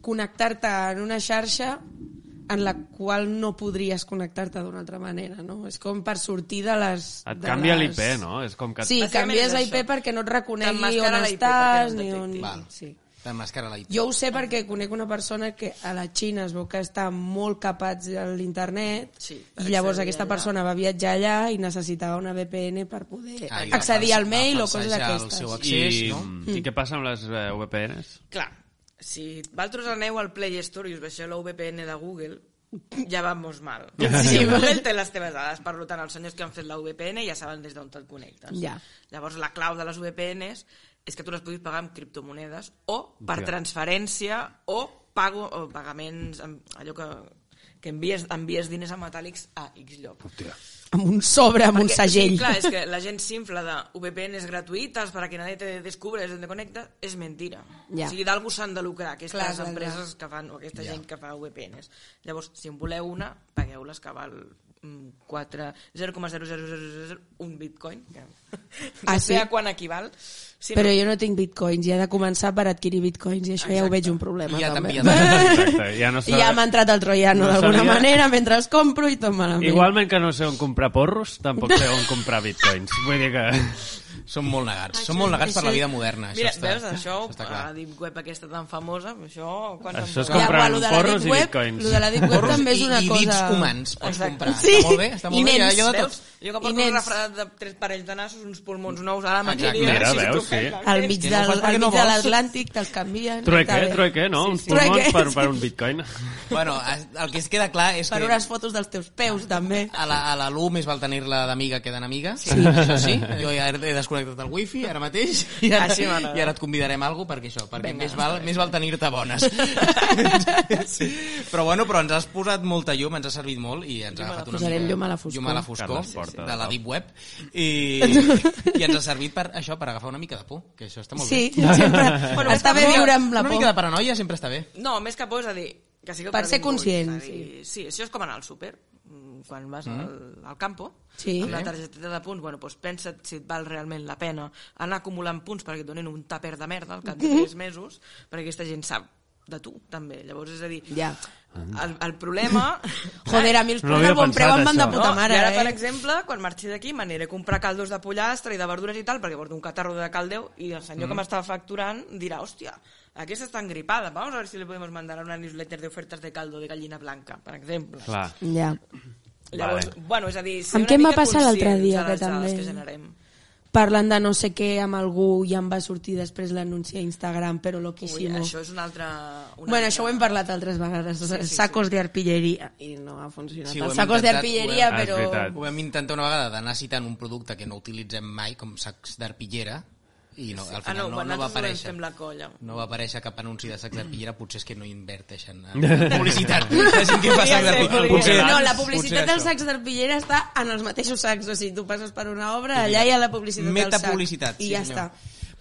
[SPEAKER 3] connectar-te en una xarxa en la qual no podries connectar-te d'una altra manera, no? És com per sortir de les...
[SPEAKER 4] Et
[SPEAKER 3] de
[SPEAKER 4] canvia
[SPEAKER 3] les-
[SPEAKER 4] l'IP, no? És com que...
[SPEAKER 3] Sí,
[SPEAKER 5] Bàsicament
[SPEAKER 3] canvies
[SPEAKER 5] és
[SPEAKER 3] la IP
[SPEAKER 5] això.
[SPEAKER 3] perquè no et reconegui on
[SPEAKER 5] T'emmascara la IP
[SPEAKER 3] estàs,
[SPEAKER 5] perquè no et
[SPEAKER 3] ni on...
[SPEAKER 5] detecti.
[SPEAKER 2] Val.
[SPEAKER 3] Sí.
[SPEAKER 2] T'emmascara la IT.
[SPEAKER 3] Jo ho sé perquè conec una persona que a la Xina es veu que està molt capats a l'internet
[SPEAKER 5] Sí, per
[SPEAKER 3] i llavors
[SPEAKER 5] accedir
[SPEAKER 3] aquesta
[SPEAKER 5] allà.
[SPEAKER 3] persona va viatjar allà i necessitava una VPN per poder
[SPEAKER 2] Ah, i va
[SPEAKER 3] accedir
[SPEAKER 2] pas-
[SPEAKER 3] al mail
[SPEAKER 2] va
[SPEAKER 3] o coses
[SPEAKER 2] passejar el
[SPEAKER 3] d'aquestes.
[SPEAKER 2] seu
[SPEAKER 4] I,
[SPEAKER 2] accés, no?
[SPEAKER 4] I què passa amb les eh, VPNs?
[SPEAKER 5] Clar, si vosaltres aneu al Play Store i us baixeu la VPN de Google, ja vamos mal. Sí, Google té les teves dades, per lo tant, els senyors que han fet la VPN ja saben des d'on et connectes.
[SPEAKER 3] Ja.
[SPEAKER 5] Llavors, la clau de les VPNs és que tu les puguis pagar amb criptomonedes o per
[SPEAKER 4] Ja.
[SPEAKER 5] transferència o pago o pagaments amb allò que que envies, envies diners a metàl·lics a X lloc.
[SPEAKER 3] Amb un sobre, amb un
[SPEAKER 5] Perquè,
[SPEAKER 3] segell.
[SPEAKER 5] Sí, clar, és que la gent s'infla de VPNs gratuïtes para que nadie te descubre desde donde conecta, és mentira.
[SPEAKER 3] Ja.
[SPEAKER 5] O sigui, d'algú s'han de lucrar, aquestes
[SPEAKER 3] Clar,
[SPEAKER 5] clar,
[SPEAKER 3] clar,
[SPEAKER 5] empreses que fan, o aquesta gent que fa VPNs. Llavors, si en voleu una, pagueu-les que val mm, 4 0,00001 bitcoin, que
[SPEAKER 3] Ah,
[SPEAKER 5] no
[SPEAKER 3] sí?
[SPEAKER 5] sé a quan equival. Si
[SPEAKER 3] Però jo no tinc bitcoins i he de començar per adquirir bitcoins i això ja ho
[SPEAKER 5] Exacte.
[SPEAKER 3] veig un problema.
[SPEAKER 2] I ja
[SPEAKER 3] també.
[SPEAKER 2] t'envien-
[SPEAKER 4] [laughs] Exacte, ja
[SPEAKER 3] [laughs]
[SPEAKER 4] no
[SPEAKER 3] I ja m'ha entrat el troiano
[SPEAKER 4] No
[SPEAKER 3] d'alguna
[SPEAKER 4] sabia.
[SPEAKER 3] manera mentre els compro i tot malament.
[SPEAKER 4] Igualment que no sé on comprar porros, tampoc sé on comprar bitcoins. Vull dir que...
[SPEAKER 2] Són molt
[SPEAKER 3] Ah,
[SPEAKER 2] negats. Són molt negats per la vida moderna. això
[SPEAKER 5] Mira,
[SPEAKER 2] està,
[SPEAKER 5] veus, això,
[SPEAKER 2] està
[SPEAKER 5] a
[SPEAKER 2] clar.
[SPEAKER 5] la Deep Web aquesta tan famosa, això... Quan
[SPEAKER 4] Això és
[SPEAKER 5] se'n
[SPEAKER 4] com-
[SPEAKER 5] podrà?
[SPEAKER 4] Comprant
[SPEAKER 3] lo de la
[SPEAKER 4] porros
[SPEAKER 3] Deep
[SPEAKER 4] i
[SPEAKER 3] Web-
[SPEAKER 4] bitcoins.
[SPEAKER 3] Lo de la Deep Web
[SPEAKER 2] Porros
[SPEAKER 3] també és
[SPEAKER 2] i-
[SPEAKER 3] una
[SPEAKER 2] i,
[SPEAKER 3] cosa...
[SPEAKER 2] dits humans pots
[SPEAKER 5] Exacte.
[SPEAKER 2] comprar.
[SPEAKER 3] Sí.
[SPEAKER 2] Està molt bé, està molt
[SPEAKER 3] I
[SPEAKER 2] bé. Hi ha,
[SPEAKER 3] nens.
[SPEAKER 2] hi ha de
[SPEAKER 5] Veus?
[SPEAKER 2] tot.
[SPEAKER 5] Jo que
[SPEAKER 3] I
[SPEAKER 5] porto
[SPEAKER 3] nens.
[SPEAKER 5] un refredat de tres parells de nassos, uns pulmons nous, ara m'agradaria...
[SPEAKER 2] Exacte.
[SPEAKER 4] Mira, veus, sí.
[SPEAKER 3] Al mig,
[SPEAKER 2] Que no fas
[SPEAKER 3] del,
[SPEAKER 2] perquè
[SPEAKER 3] al
[SPEAKER 2] no
[SPEAKER 3] mig de
[SPEAKER 2] vols.
[SPEAKER 3] l'Atlàntic te'ls canvien.
[SPEAKER 4] Trueque, eh,
[SPEAKER 3] Està bé.
[SPEAKER 4] trueque, no?
[SPEAKER 3] Sí,
[SPEAKER 4] Uns
[SPEAKER 3] sí.
[SPEAKER 4] pulmons
[SPEAKER 3] Trueque.
[SPEAKER 4] per, per un
[SPEAKER 3] [laughs]
[SPEAKER 4] bitcoin.
[SPEAKER 2] Bueno, es- el que es queda clar és
[SPEAKER 3] Per
[SPEAKER 2] que
[SPEAKER 3] unes fotos dels teus peus, també.
[SPEAKER 2] a la, a la LU més val tenir-la d'amiga que d'enemiga. Sí. Això sí. [laughs] Jo ja he desconnectat el wifi ara mateix i
[SPEAKER 3] Ah,
[SPEAKER 2] ara,
[SPEAKER 5] Així m'agrada.
[SPEAKER 2] i ara et convidarem a alguna perquè això, perquè més val, més val tenir-te bones.
[SPEAKER 3] [laughs]
[SPEAKER 2] sí. Però bueno, però ens has posat molta llum, ens ha servit molt i ens ha agafat una
[SPEAKER 3] posarem
[SPEAKER 2] mica...
[SPEAKER 3] llum a la foscor.
[SPEAKER 2] Llum a la foscor
[SPEAKER 4] Carles Porta,
[SPEAKER 2] de la
[SPEAKER 4] de
[SPEAKER 2] Deep Web i,
[SPEAKER 3] [laughs]
[SPEAKER 2] i ens ha servit per això, per agafar una mica de por, que això està molt
[SPEAKER 3] Sí,
[SPEAKER 2] bé.
[SPEAKER 3] [laughs] sempre.
[SPEAKER 5] Bueno,
[SPEAKER 3] està
[SPEAKER 5] és
[SPEAKER 3] bé
[SPEAKER 5] que-
[SPEAKER 3] viure amb la
[SPEAKER 2] una
[SPEAKER 3] por.
[SPEAKER 2] mica de paranoia sempre està bé.
[SPEAKER 5] No, més que por, és a dir... Que sí que
[SPEAKER 3] Per ser conscient,
[SPEAKER 5] Sí. sí, això és com anar al súper. Mm, Quan vas mm. al, al campo,
[SPEAKER 3] Sí.
[SPEAKER 5] amb la targeteta de punts, bueno, doncs pensa't si et val realment la pena anar acumulant punts perquè et donin un tàper de merda al cap
[SPEAKER 3] [laughs]
[SPEAKER 5] de 3 mesos, perquè aquesta gent sap de tu, també. Llavors, és a dir,
[SPEAKER 3] Ja.
[SPEAKER 5] el, el problema...
[SPEAKER 3] Joder, a mi els
[SPEAKER 4] No
[SPEAKER 3] punts
[SPEAKER 4] havia
[SPEAKER 3] del bon preu
[SPEAKER 4] pensat,
[SPEAKER 3] em van de
[SPEAKER 4] això.
[SPEAKER 3] puta mare,
[SPEAKER 5] i ara, per
[SPEAKER 3] eh?
[SPEAKER 5] exemple, quan marxi d'aquí, m'aniré a comprar caldos de pollastre i de verdures i tal, perquè porto un catarro de caldeu, i el senyor mm. que m'estava facturant dirà, hòstia, aquesta està engripada, vamos a ver si le podemos mandar una newsletter de ofertas de caldo de gallina blanca, per exemple.
[SPEAKER 4] Clar.
[SPEAKER 3] Ja.
[SPEAKER 5] Llavors,
[SPEAKER 4] Vale.
[SPEAKER 5] bueno, és a dir, ser
[SPEAKER 3] Amb
[SPEAKER 5] una
[SPEAKER 3] què em va
[SPEAKER 5] mica
[SPEAKER 3] passar l'altre
[SPEAKER 5] conscients
[SPEAKER 3] dia,
[SPEAKER 5] de les
[SPEAKER 3] que
[SPEAKER 5] dades
[SPEAKER 3] també-
[SPEAKER 5] Que generem.
[SPEAKER 3] Parlant de no sé què amb algú i em va sortir després l'anunci a Instagram, però
[SPEAKER 5] Ui,
[SPEAKER 3] loquíssimo.
[SPEAKER 5] això és una altra... Una
[SPEAKER 3] Bueno,
[SPEAKER 5] altra-
[SPEAKER 3] això ho hem parlat altres vegades, sí, sí, sacos sí. d'arpilleria, i no ha funcionat.
[SPEAKER 2] Sí,
[SPEAKER 3] Sí,
[SPEAKER 2] ho hem
[SPEAKER 3] els sacos
[SPEAKER 2] intentat,
[SPEAKER 3] d'arpilleria,
[SPEAKER 4] ho hem-
[SPEAKER 3] però...
[SPEAKER 4] Ah, és veritat.
[SPEAKER 2] Ho vam intentar una vegada d'anar citant un producte que no utilitzem mai, com sacs d'arpillera, i no, al
[SPEAKER 5] Ah, no,
[SPEAKER 2] final no,
[SPEAKER 5] quan
[SPEAKER 2] no va
[SPEAKER 5] nosaltres ho vam
[SPEAKER 2] aparèixer.
[SPEAKER 5] fer amb la colla.
[SPEAKER 2] No va aparèixer cap anunci de sacs
[SPEAKER 3] [clears throat]
[SPEAKER 2] d'arpillera, potser és que no inverteixen en publicitat. La gent que fa sacs d'arpillera.
[SPEAKER 4] Potser
[SPEAKER 3] no,
[SPEAKER 4] abans,
[SPEAKER 3] la publicitat
[SPEAKER 2] potser
[SPEAKER 3] dels
[SPEAKER 2] això.
[SPEAKER 3] sacs d'arpillera està en els mateixos sacs, o sigui, tu passes per una obra, allà hi ha la publicitat del sac.
[SPEAKER 2] Metapublicitat.
[SPEAKER 3] I ja està.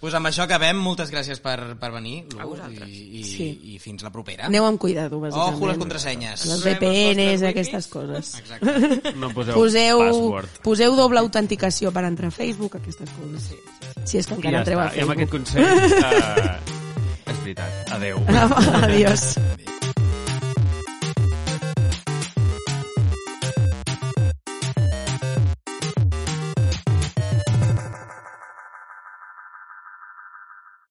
[SPEAKER 2] Pues amb això acabem. Moltes gràcies per, per venir, Lu,
[SPEAKER 5] vosaltres.
[SPEAKER 2] i, i,
[SPEAKER 3] Sí.
[SPEAKER 2] i fins la propera.
[SPEAKER 3] Aneu amb cuidado, bàsicament.
[SPEAKER 2] Ah. Ojo les contrasenyes.
[SPEAKER 3] Les
[SPEAKER 5] Sabem els
[SPEAKER 3] VPNs,
[SPEAKER 5] vostres
[SPEAKER 3] aquestes coses.
[SPEAKER 2] Exacte.
[SPEAKER 4] No poseu,
[SPEAKER 3] Poseu,
[SPEAKER 4] password.
[SPEAKER 3] poseu doble autenticació per entrar a Facebook, aquestes coses. Si és que
[SPEAKER 4] I ja
[SPEAKER 3] encara entreu
[SPEAKER 4] està.
[SPEAKER 3] a
[SPEAKER 4] I amb aquest
[SPEAKER 3] Facebook. [laughs]
[SPEAKER 4] consell... eh, és veritat. Adeu.
[SPEAKER 3] Adiós.
[SPEAKER 2] Adéu.